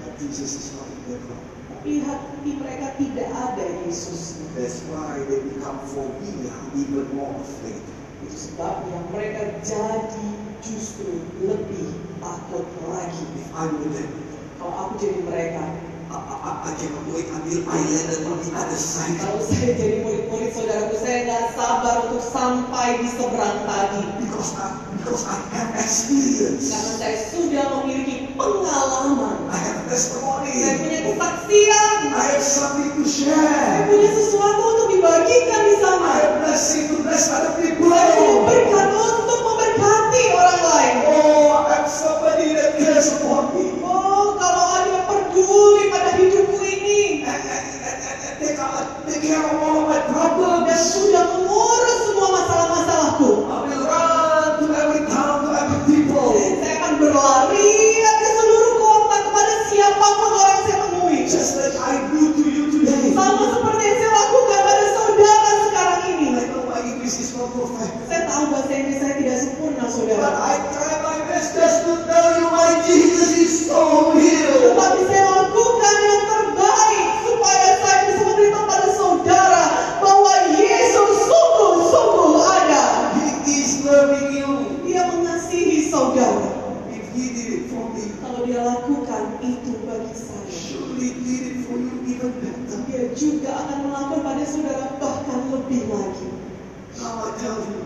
B: But Jesus is not in their heart.
A: Tapi hati mereka tidak ada Yesusnya.
B: That's why they become phobia, even more afraid.
A: Itu sebabnya mereka jadi justru lebih takut lagi.
B: If I'm with them,
A: Kalau aku jadi mereka,
B: I, I, I- I cannot wait until I landed on the other side.
A: kalau saya jadi murid-murid saudaraku, saya nggak sabar untuk sampai di seberang tadi.
B: Because I, because I have
A: Karena
B: experience.
A: saya sudah memiliki pengalaman.
B: I have
A: Saya punya
B: testimony.
A: kesaksian.
B: I have something to
A: Saya
B: share.
A: punya sesuatu untuk dibagikan di
B: I
A: sana.
B: have blessing to bless other people.
A: Saya punya berkat untuk memberkati orang lain.
B: Oh, I'm somebody that cares about people.
A: Oh, kalau ada peduli pada hidupku ini
B: And, and, and, and they, come, they care of all of my
A: dan
B: problems.
A: sudah mengurus semua masalah-masalahku,
B: I will run to every town, to every people.
A: saya akan berlarian ke seluruh kota kepada siapapun orang yang saya temui.
B: Just like I do to you today.
A: Sama seperti yang saya lakukan pada saudara sekarang ini.
B: I know my English is not perfect.
A: Saya tahu bahasa Inggris saya tidak sempurna,
B: But
A: saudara.
B: I try my best just to tell you why Jesus is so real.
A: Tetapi saya lakukan yang terbaik supaya saya bisa memberitahu pada saudara bahwa Yesus sungguh-sungguh ada.
B: He is loving you.
A: Dia mengasihi saudara.
B: If he did it for me,
A: Kalau dia lakukan itu bagi saya,
B: surely he did it for you even better.
A: dia juga akan melakukan pada saudara bahkan lebih lagi.
B: Now I tell you,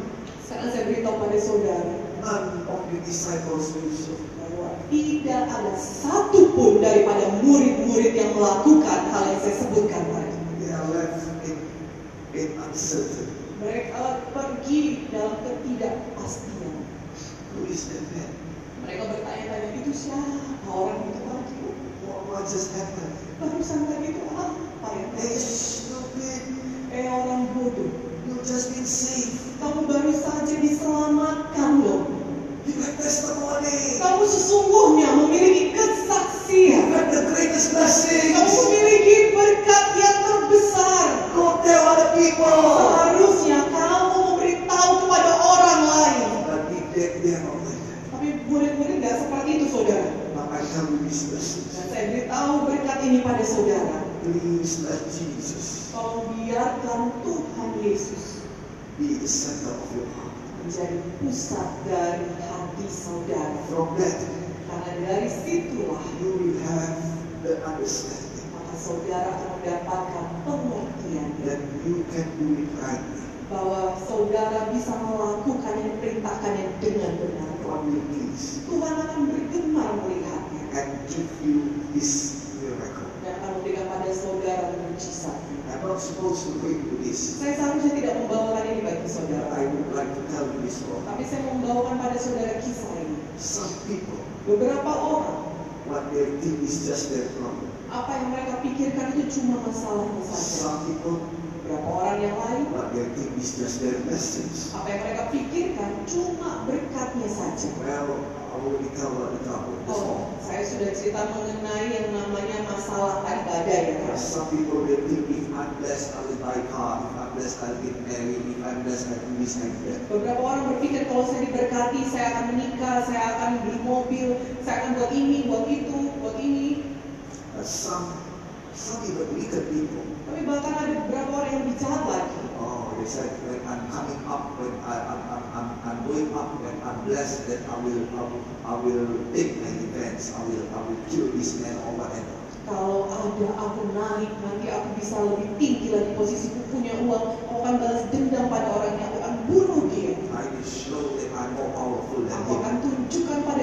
A: Sekarang saya beritahu pada saudara
B: none of the disciples do so.
A: bahwa tidak ada satupun daripada murid-murid yang melakukan hal yang saya sebutkan tadi.
B: They are left in, in uncertain.
A: Mereka pergi dalam ketidakpastian.
B: Who is that man?
A: Mereka bertanya-tanya itu siapa orang itu tadi?
B: What, what just happened?
A: Barusan tadi itu apa ya?
B: Hey, stupid.
A: Eh orang bodoh,
B: You just been saved.
A: kamu baru saja diselamatkan loh.
B: You have testimony.
A: Kamu sesungguhnya memiliki
B: You
A: kesaksian.
B: have the greatest
A: Kamu
B: blessings.
A: memiliki berkat yang terbesar.
B: Go tell other people.
A: Seharusnya kamu memberitahu kepada orang lain.
B: But if they, they are not like that.
A: Tapi murid-murid tidak seperti itu, saudara.
B: But I tell you this message.
A: Dan saya beritahu berkat ini pada saudara.
B: Please let Jesus
A: Kalau biarkan Tuhan Yesus
B: be the center of your heart.
A: menjadi pusat dari hati saudara.
B: From that,
A: Karena dari situlah
B: you will have the understanding
A: maka saudara akan mendapatkan pengertian
B: that you can do it rightly.
A: bahwa saudara bisa melakukan yang diperintahkannya dengan benar.
B: God will please.
A: Tuhan akan bergemar melihatnya
B: and give you this miracle.
A: dan akan memberikan pada saudara mujizat.
B: I'm not supposed to bring you this,
A: Saya seharusnya tidak membawakan ini bagi
B: but
A: saudara,
B: I would like to tell you this one.
A: tapi saya membawakan pada saudara kisah ini.
B: Some people,
A: Beberapa orang,
B: what they think is just their problem.
A: apa yang mereka pikirkan itu cuma masalahnya saja.
B: Some people,
A: Beberapa orang yang lain,
B: what they think is just their blessings.
A: apa yang mereka pikirkan cuma berkatnya saja.
B: Well, I already tell what the problem is.
A: Oh, saya sudah cerita mengenai yang namanya masalah tadi badai ya.
B: There are
A: Kak?
B: Some people they think if I'm blessed, I will buy a car. If I'm blessed, I'll get married. If I'm blessed, I do this, I do that.
A: Beberapa orang berpikir kalau saya diberkati, saya akan menikah, saya akan beli mobil, saya akan buat ini, buat itu, buat ini.
B: But some, some even wicked people,
A: Tapi bahkan ada beberapa orang yang bicara lagi.
B: Oh, they said when I'm coming up, when I, I'm, I'm, I'm, I'm going up, when I'm blessed, then I will, I will, I will take my defense. I will, I will kill this man or whatever.
A: Kalau ada aku naik, nanti aku bisa lebih tinggi lagi posisiku punya uang. Aku akan balas dendam pada orangnya, aku akan bunuh dia.
B: I will show that I'm more powerful than
A: Aku
B: him.
A: akan tunjukkan pada